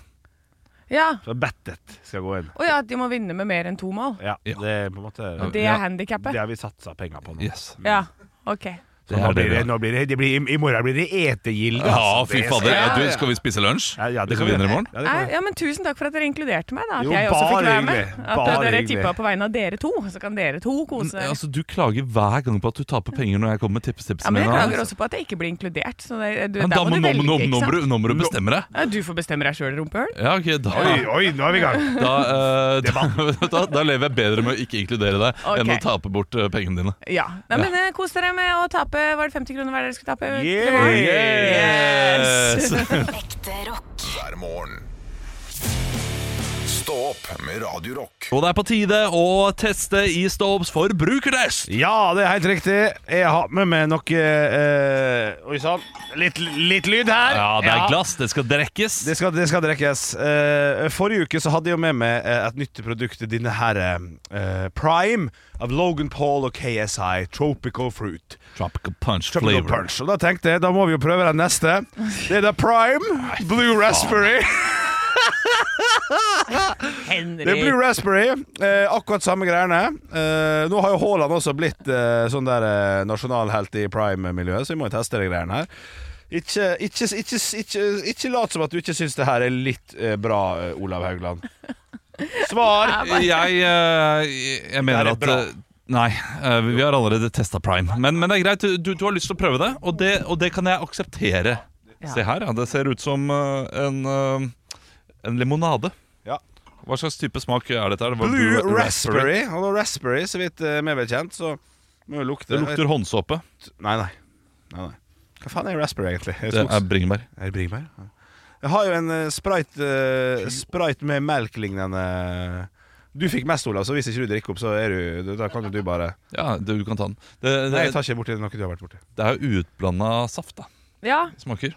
Speaker 4: Ja.
Speaker 2: Så Battet skal gå inn.
Speaker 4: Å ja, at de må vinne med mer enn to mål.
Speaker 2: Ja,
Speaker 3: Ja.
Speaker 2: det er på en måte
Speaker 3: Ja.
Speaker 4: Det er handikappet?
Speaker 2: Det har vi satsa penger på nå.
Speaker 3: Yes.
Speaker 4: Ja. OK.
Speaker 2: Så
Speaker 3: Det
Speaker 2: nå
Speaker 3: er det
Speaker 2: blir
Speaker 3: vi
Speaker 2: det, nå
Speaker 3: har.
Speaker 2: blir det, det blir, I morgen blir det etegilde.
Speaker 3: Ja,
Speaker 2: altså.
Speaker 3: fy
Speaker 2: Det
Speaker 3: fader.
Speaker 2: skal-
Speaker 3: Du, skal vi spise lunsj?
Speaker 2: Ja, ja, det
Speaker 3: Vi skal
Speaker 2: kan vi.
Speaker 3: vinne i morgen.
Speaker 2: Ja, det kan
Speaker 4: Nei,
Speaker 2: vi.
Speaker 4: ja, men Tusen takk for at dere inkluderte meg. da At
Speaker 2: Jo,
Speaker 4: jeg også fikk
Speaker 2: bare
Speaker 4: være med.
Speaker 2: hyggelig.
Speaker 4: At
Speaker 2: Bare
Speaker 4: dere
Speaker 2: hyggelig.
Speaker 4: tippa på vegne av dere to, så kan dere to kose
Speaker 3: Men,
Speaker 4: dere.
Speaker 3: Altså, du klager hver gang på at du taper penger når jeg kommer med tippestipsene
Speaker 4: ja, men Jeg
Speaker 3: mine,
Speaker 4: klager
Speaker 3: altså.
Speaker 4: også på at jeg ikke blir inkludert. Så det, du,
Speaker 3: Men
Speaker 4: der
Speaker 3: da
Speaker 4: må
Speaker 3: må,
Speaker 4: du
Speaker 3: nå,
Speaker 4: velge,
Speaker 3: nå, nå,
Speaker 4: ikke
Speaker 3: må
Speaker 4: sant?
Speaker 3: du- nå må du bestemme deg.
Speaker 4: Ja, du får bestemme deg sjøl, rumpehøl.
Speaker 3: Ja, ok, da,
Speaker 2: Oi, oi, nå er vi i gang.
Speaker 3: da, eh, da, da, da lever jeg bedre med å ikke inkludere deg enn å
Speaker 4: Ok.
Speaker 3: tape bort eh, pengene dine.
Speaker 4: Ja. Nei, men eh, kos dere med å tape. Var det 50 kroner hver dere skulle tape?
Speaker 2: Yeah.
Speaker 4: Det var-
Speaker 3: Yes!
Speaker 6: Ekte rock.
Speaker 1: hver morgen. Stå opp med Radio Rock.
Speaker 3: Og det er på tide å teste E-Stops forbrukertest!
Speaker 2: Ja, det er helt riktig. Jeg har med meg noe eh, Oi sann. Litt, litt lyd her.
Speaker 3: Ja, det er glass, det skal drikkes.
Speaker 2: Det skal, det skal drikkes. Eh, forrige uke så hadde jeg jo med meg eh, et nytt produkt. Denne her eh, Prime av Logan Paul og KSI. Tropical Fruit.
Speaker 3: Tropical punch
Speaker 2: Tropical
Speaker 3: flavor.
Speaker 2: Punch. Og da tenkte jeg, da må vi jo prøve den neste. Det er da Prime Blue Raspberry. Det er Blue
Speaker 4: Henrik.
Speaker 2: Raspberry. Eh, akkurat samme greiene. Eh, nå har jo Haaland også blitt eh, sånn der eh, nasjonalhelt i prime-miljøet, så vi må jo teste de greiene her. Ikke, ikke, ikke, ikke, ikke lat som at du ikke syns det her er litt eh, bra, eh, Olav Haugland. Svar!
Speaker 3: Jeg, eh, jeg mener
Speaker 2: Det er
Speaker 3: at
Speaker 2: bra.
Speaker 3: eh, Nei, eh, vi har allerede testa prime. Men, men det er greit, du, du har lyst til å prøve det, og det, og det kan jeg akseptere.
Speaker 4: Ja.
Speaker 3: Se her, ja. Det ser ut som eh, en, eh, en limonade.
Speaker 2: Ja.
Speaker 3: Hva slags type smak er dette? her? Det var
Speaker 2: Blue Raspberry. Og da raspberry, så vidt eh, meg bekjent, så må jo lukte
Speaker 3: Det lukter håndsåpe.
Speaker 2: Nei, nei. nei, nei. Hva faen er raspberry, egentlig? Er
Speaker 3: Det
Speaker 2: det skogs-
Speaker 3: er bringebær.
Speaker 2: Er det bringebær? Ja. Jeg har jo en eh, sprite, eh, sprite med melk-lignende eh, Du fikk mest, Olav, så hvis ikke du drikker opp, så er du Da kan jo du bare
Speaker 3: Ja, det, du kan ta den. Det,
Speaker 2: Nei, jeg
Speaker 3: det,
Speaker 2: tar ikke borti noe du har vært borti.
Speaker 3: det er jo utblanda saft, da.
Speaker 4: Ja,
Speaker 3: Smaker.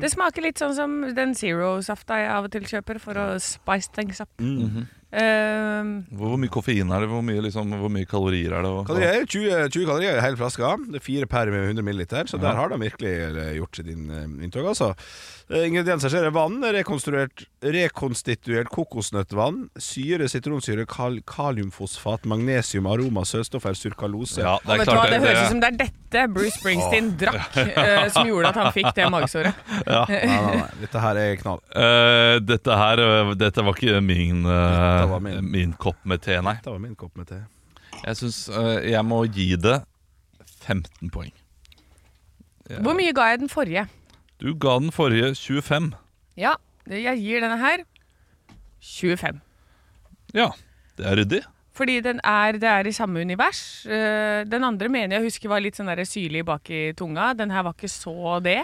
Speaker 4: det smaker litt sånn som den Zero-safta jeg av og til kjøper for å spice things up.
Speaker 3: Mm.
Speaker 2: Mm-hmm.
Speaker 4: Ehm,
Speaker 3: Hvor, hvor mye koffein er det? Hvor mye, liksom, hvor mye kalorier er det? Og,
Speaker 2: Kalorier, er jo 20, 20 kalorier i hele flaska. Det er fire per med 100 milliliter, så der har de virkelig eh, gjort sitt inn- eh, inntog, altså. Eh, Ingredienser så er det vann, rekonstruert, rekonstituert kokosnøttvann, syre, sitronsyre, kal kaliumfosfat, magnesium, aroma, søtstoffer, surkalose.
Speaker 3: ja, det
Speaker 4: og
Speaker 3: er
Speaker 4: vet du hva,
Speaker 3: klart
Speaker 4: det
Speaker 3: det.
Speaker 4: høres ut som det er dette Bruce Springsteen drakk, eh, som gjorde at han fikk det magesåret.
Speaker 2: Nei, nei, nei, dette her er knall.
Speaker 3: Eh, dette her eh, Dette var ikke min, eh,
Speaker 2: Dette var
Speaker 3: min.
Speaker 2: min.
Speaker 3: kopp med te, nei.
Speaker 2: Dette var min kopp med te.
Speaker 3: Jeg syns eh, jeg må gi det 15 poeng. Ja.
Speaker 4: Hvor mye ga jeg den forrige?
Speaker 3: Du ga den forrige 25.
Speaker 4: Ja, jeg gir denne her 25.
Speaker 3: Ja, det er ryddig.
Speaker 4: Fordi den er, det er i samme univers. Eh, Den andre mener jeg husker var litt sånn der syrlig bak i tunga. Den her var ikke så det.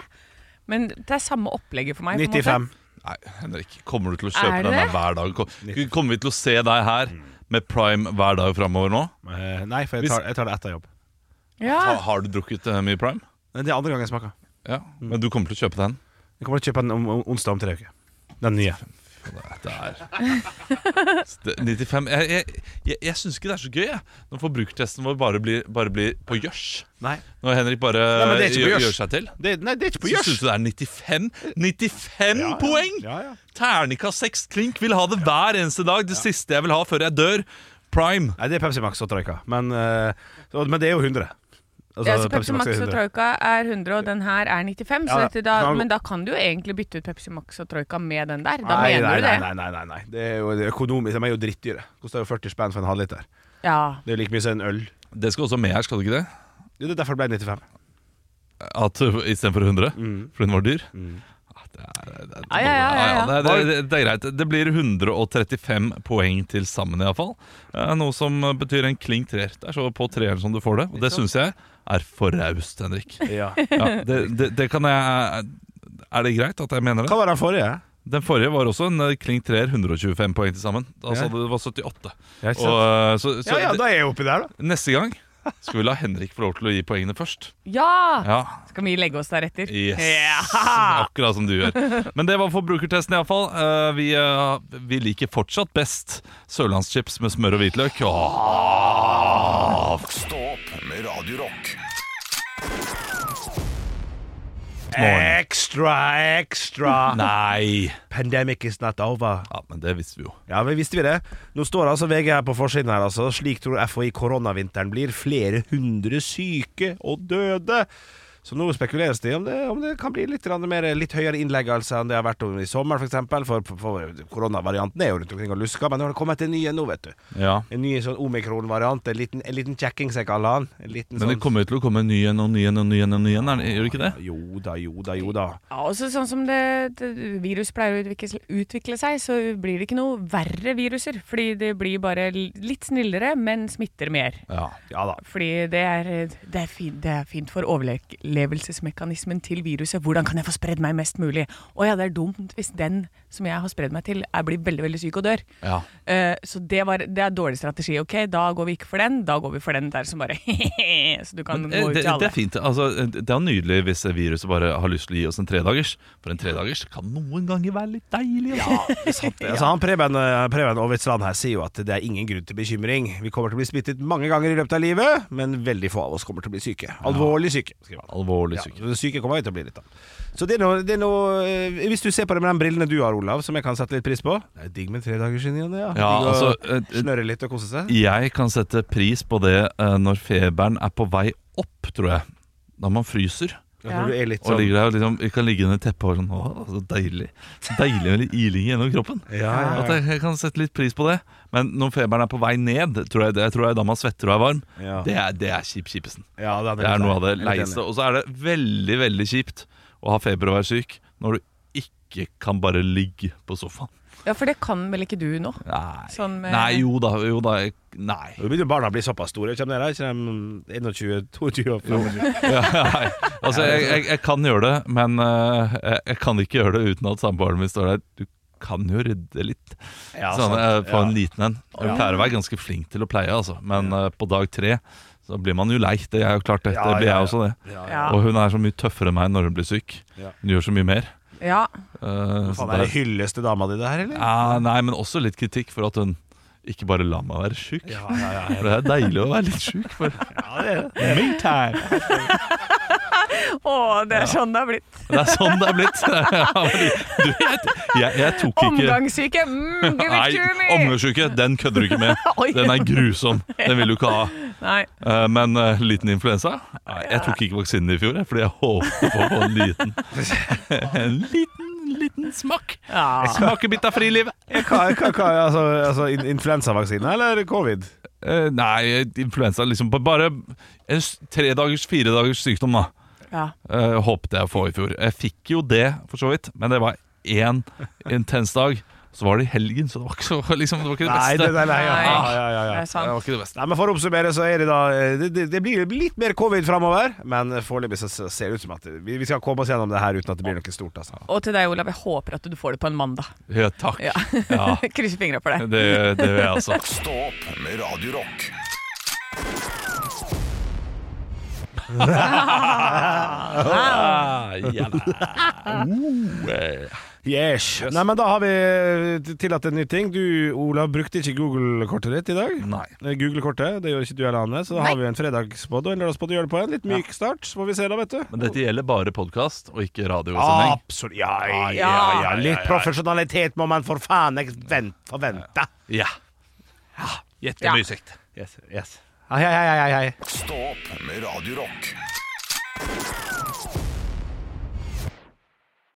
Speaker 4: Men det er samme opplegget for meg. på en måte.
Speaker 2: 95.
Speaker 3: Nei, Henrik, kommer du til å
Speaker 4: Er
Speaker 3: kjøpe
Speaker 4: det
Speaker 3: den her
Speaker 4: det?
Speaker 3: hver dag? Kom- Kommer vi til å se deg her med prime hver dag framover nå?
Speaker 2: Eh, nei, for jeg tar, jeg tar det etter jobb.
Speaker 4: Ja.
Speaker 3: Har, har du drukket eh, mye prime?
Speaker 2: Men Det er andre gang jeg smaker.
Speaker 3: Ja, Men du kommer til å kjøpe den?
Speaker 2: Jeg kommer til å kjøpe den om, om, onsdag om tre uker. Den nye.
Speaker 3: Det er Det- 95 Jeg, jeg, jeg, jeg syns ikke det er så gøy, jeg. Når forbrukertesten vår bare blir, bare blir på gjørs.
Speaker 2: Nei,
Speaker 3: Når Henrik bare
Speaker 2: men det er ikke på
Speaker 3: gjør,
Speaker 2: gjørs.
Speaker 3: gjør seg til.
Speaker 2: det, nei, det er ikke på
Speaker 3: Så
Speaker 2: gjørs!
Speaker 3: syns du det er 95? 95 poeng!
Speaker 2: Ja, ja.
Speaker 3: Terningkast seks klink. Vil ha det hver eneste dag. Det siste jeg vil ha før jeg dør. Prime.
Speaker 2: Nei, det er Pepsi Max og Troika. Men, eh, så- men det er jo 100. Altså,
Speaker 4: Ja, så Pepsi Max og
Speaker 2: 100.
Speaker 4: Troika er 100, og den her er 95. Så
Speaker 2: Ja,
Speaker 4: dette da,
Speaker 2: da-
Speaker 4: men da kan du jo egentlig bytte ut Pepsi Max og Troika med den der. Da
Speaker 2: Nei,
Speaker 4: mener
Speaker 2: nei,
Speaker 4: du det.
Speaker 2: nei, nei, nei, nei, nei. Det er jo det er økonomisk. De er jo drittdyre. Koster jo 40 spenn for en halvliter.
Speaker 4: Ja.
Speaker 2: Det er jo like mye som en øl.
Speaker 3: Det skal også med her, skal det ikke det?
Speaker 2: Jo, Det er derfor det ble 95.
Speaker 3: At uh, Istedenfor 100?
Speaker 2: Mm.
Speaker 3: Fordi den var dyr? Ah, Det er, det, er,
Speaker 4: Ja, ja, ja, ja, ja.
Speaker 3: det, er, det, er, det er greit. Det blir 135 poeng til sammen, iallfall. Eh, Noe som betyr en klink treer. Det er så på treeren som du får det. Og det syns jeg er for raust, Henrik.
Speaker 2: Ja.
Speaker 3: Ja, det, det, det kan jeg Er det greit at jeg mener
Speaker 2: Hva
Speaker 3: det?
Speaker 2: var den forrige?
Speaker 3: Den forrige var også en eh, klink treer, 125 poeng til sammen. Altså det var 78.
Speaker 2: Ja,
Speaker 3: Og, eh, så så
Speaker 2: ja, ja, da er jeg oppi der, da.
Speaker 3: det, neste gang skal vi la Henrik få lov til å gi poengene først.
Speaker 4: ja!
Speaker 3: Ja,
Speaker 4: Skal vi legge oss deretter?
Speaker 3: Yes.
Speaker 4: Ja.
Speaker 3: Akkurat som du gjør. Men det var forbrukertesten, iallfall. Uh, vi, eh, vi liker fortsatt best sørlandschips med smør og hvitløk. Åh.
Speaker 1: Stå opp med Radio Rock.
Speaker 3: Eh.
Speaker 2: Extra, extra.
Speaker 3: Nei!
Speaker 2: Pandemic is not over.
Speaker 3: Ja, men det visste vi jo.
Speaker 2: Ja, men visste vi det? Nå står altså VG her på forsiden her, altså. Slik tror FHI koronavinteren blir. Flere hundre syke og døde. Så nå spekuleres det i om det, om det kan bli litt, grann mer, litt høyere innleggelse enn det har vært om i sommer, f.eks. For, eksempel. for, for koronavarianten er jo rundt omkring og lusker, men nå har det kommet en ny en nå, vet du.
Speaker 3: Ja.
Speaker 2: En ny sånn omikron-variant. En liten, en liten kjekking, som jeg kaller han. En liten
Speaker 3: Men det
Speaker 2: sånn
Speaker 3: kommer jo til å komme en ny en og ny en og ny en. og ny en, er det- Gjør det ikke det?
Speaker 2: Jo da, jo da, jo da.
Speaker 4: Ja, også sånn som det, det virus pleier å utvikle, utvikle seg, så blir det ikke noe verre viruser. Fordi det blir bare l- litt snillere, men smitter mer.
Speaker 3: Ja.
Speaker 2: Ja da.
Speaker 4: Fordi det er, det er, fint, det er fint for overlevelsesmekanismen til viruset. Hvordan kan jeg få spredd meg mest mulig? Å ja, det er dumt hvis den som jeg har spredd meg til, er blir veldig veldig syk og dør.
Speaker 3: ja.
Speaker 4: Eh, så det, var, det er dårlig strategi. Ok, da går vi ikke for den, da går vi for den der som bare Så du kan
Speaker 3: Men, eh,
Speaker 4: gå ut
Speaker 3: det,
Speaker 4: til
Speaker 3: det er
Speaker 4: alle.
Speaker 3: fint. Altså, det er jo nydelig hvis viruset bare har lyst til å gi oss en tredagers. For en tredagers kan noen ganger være litt deilig. Altså.
Speaker 2: Altså, han Preben, eh, Preben Aavitsland her sier jo at det er ingen grunn til bekymring. Vi kommer til å bli smittet mange ganger i løpet av livet, men veldig få av oss kommer til å bli syke. Alvorlig syke. skriver han.
Speaker 3: Alvorlig
Speaker 2: Ja,
Speaker 3: syke.
Speaker 2: den syke kommer jeg til å bli litt av. Så det er noe, det er noe eh, Hvis du ser på det med de brillene du har, Olav, som jeg kan sette litt pris på Det er digg med tre dagers inni og ne, ja.
Speaker 3: Ja,
Speaker 2: Digg å
Speaker 3: altså, eh, eh,
Speaker 2: Snørre litt og kose seg.
Speaker 3: Jeg kan sette pris på det eh, når feberen er på vei opp, tror jeg. Når man fryser
Speaker 4: Ja.
Speaker 2: Når du er litt
Speaker 3: og
Speaker 2: sånn
Speaker 3: ligger der og liksom, kan ligge under teppet og sånn Å, så deilig. Så deilig med litt iling gjennom kroppen.
Speaker 2: Ja, ja,
Speaker 3: At jeg, jeg kan sette litt pris på det. Men når feberen er på vei ned, tror jeg, det- jeg tror jeg da man svetter og er varm.
Speaker 2: Ja.
Speaker 3: Det er, det er kjip kjipesen.
Speaker 2: ja, det,
Speaker 3: Det er noe av det leiste. Og så er det veldig, veldig kjipt å ha feber og være syk når du ikke kan bare ligge på sofaen.
Speaker 4: Ja, for det kan vel ikke du nå?
Speaker 3: Nei,
Speaker 4: Sånn med-
Speaker 3: nei jo da, jo da. jeg- Nei.
Speaker 2: Nå begynner barna å bli såpass store. Kommer dere? Kommer de 21, 22 og 25?
Speaker 3: Ja, nei. Altså, jeg, jeg, jeg kan gjøre det, men eh, jeg, jeg kan ikke gjøre det uten at samboeren min står der. Du kan jo rydde litt.
Speaker 2: Ja,
Speaker 3: sånn,
Speaker 2: sant.
Speaker 3: eh, på en
Speaker 2: Ja.
Speaker 3: liten en. Jeg pleier å være ganske flink til å pleie, altså. men eh, på dag tre så blir man jo lei. Det er jo klart, det,
Speaker 2: Ja,
Speaker 3: det blir
Speaker 2: ja, ja.
Speaker 3: jeg også, det.
Speaker 2: Ja,
Speaker 4: Ja.
Speaker 3: Og hun er så mye tøffere enn meg når hun blir syk.
Speaker 2: Ja.
Speaker 3: Hun gjør så mye mer.
Speaker 4: Ja.
Speaker 3: Eh, så
Speaker 2: Faen, er det
Speaker 3: der-
Speaker 2: hylleste dama di, det her, eller?
Speaker 3: ja, nei, men også litt kritikk for at hun ikke bare lar meg være sjuk.
Speaker 2: ja, ja.
Speaker 3: For det er deilig å være litt sjuk. For
Speaker 2: ja det er det. Me time.
Speaker 4: Å, det er sånn det har blitt.
Speaker 3: det er sånn det er blitt. Ja, fordi, du, jeg, jeg, jeg tok ikke
Speaker 4: Omgangssyke. Mm, give it to
Speaker 3: Nei,
Speaker 4: me!
Speaker 3: omgangssyke, den kødder du ikke med.
Speaker 4: Oi.
Speaker 3: Den er grusom. Den vil du ikke ha.
Speaker 4: Nei.
Speaker 3: Eh, Men eh, liten influensa? Nei, Jeg tok ikke vaksinen i fjor, jeg, fordi jeg håpet på å få en liten En liten, liten smak.
Speaker 4: Ja.
Speaker 3: Smakebit av frilivet.
Speaker 2: Hva, hva, hva, altså, altså in- influensavaksine eller covid?
Speaker 3: Eh, Nei, influensa liksom på bare en s- tre dagers, fire dagers sykdom, da.
Speaker 4: Ja.
Speaker 3: Eh, håpte jeg å få i fjor. Jeg fikk jo det, for så vidt, men det var én intens dag. Så var det i helgen, så det var ikke, så, liksom, det, var ikke det
Speaker 2: Nei,
Speaker 3: beste.
Speaker 2: det, nei, nei, ja, ja, ja, ja,
Speaker 4: Det
Speaker 2: ja.
Speaker 4: er sant.
Speaker 3: det var ikke det beste.
Speaker 2: Nei, men For å oppsummere, så er det da eh, Det, det, det blir litt mer covid framover. Men foreløpig så så ser det ut som at vi, vi skal komme oss gjennom det her uten at det blir noe stort. Altså.
Speaker 4: Og til deg, Olav, jeg håper at du får det på en mandag.
Speaker 3: Ja, takk.
Speaker 4: Ja.
Speaker 3: Ja,
Speaker 4: Krysser fingra for deg.
Speaker 3: det, det gjør jeg altså.
Speaker 1: Stå opp med Radio Rock.
Speaker 3: Ah,
Speaker 2: Yes. Nei, men Da har vi eh, tillatt en ny ting. Du, Olav, brukte ikke Google-kortet ditt i dag.
Speaker 3: Nei.
Speaker 2: Eh, Google-kortet, det gjør ikke du eller Anne. Så da har vi jo en fredagspod og en lørdagspod å gjøre det på. En litt myk start, så får vi se da, vet du.
Speaker 3: Men dette gjelder bare podkast og ikke radiosending.
Speaker 2: Absolutt. Ja, ja, Ah, ja,
Speaker 4: Ja.
Speaker 2: ja. Litt profesjonalitet må man for faen ikke vent- forvente.
Speaker 3: Ja. ja.
Speaker 4: Ja.
Speaker 3: Jettemysikt.
Speaker 2: Yes, yes. Hei, hei, hei, hei, hei.
Speaker 1: Stå opp med Radio Rock.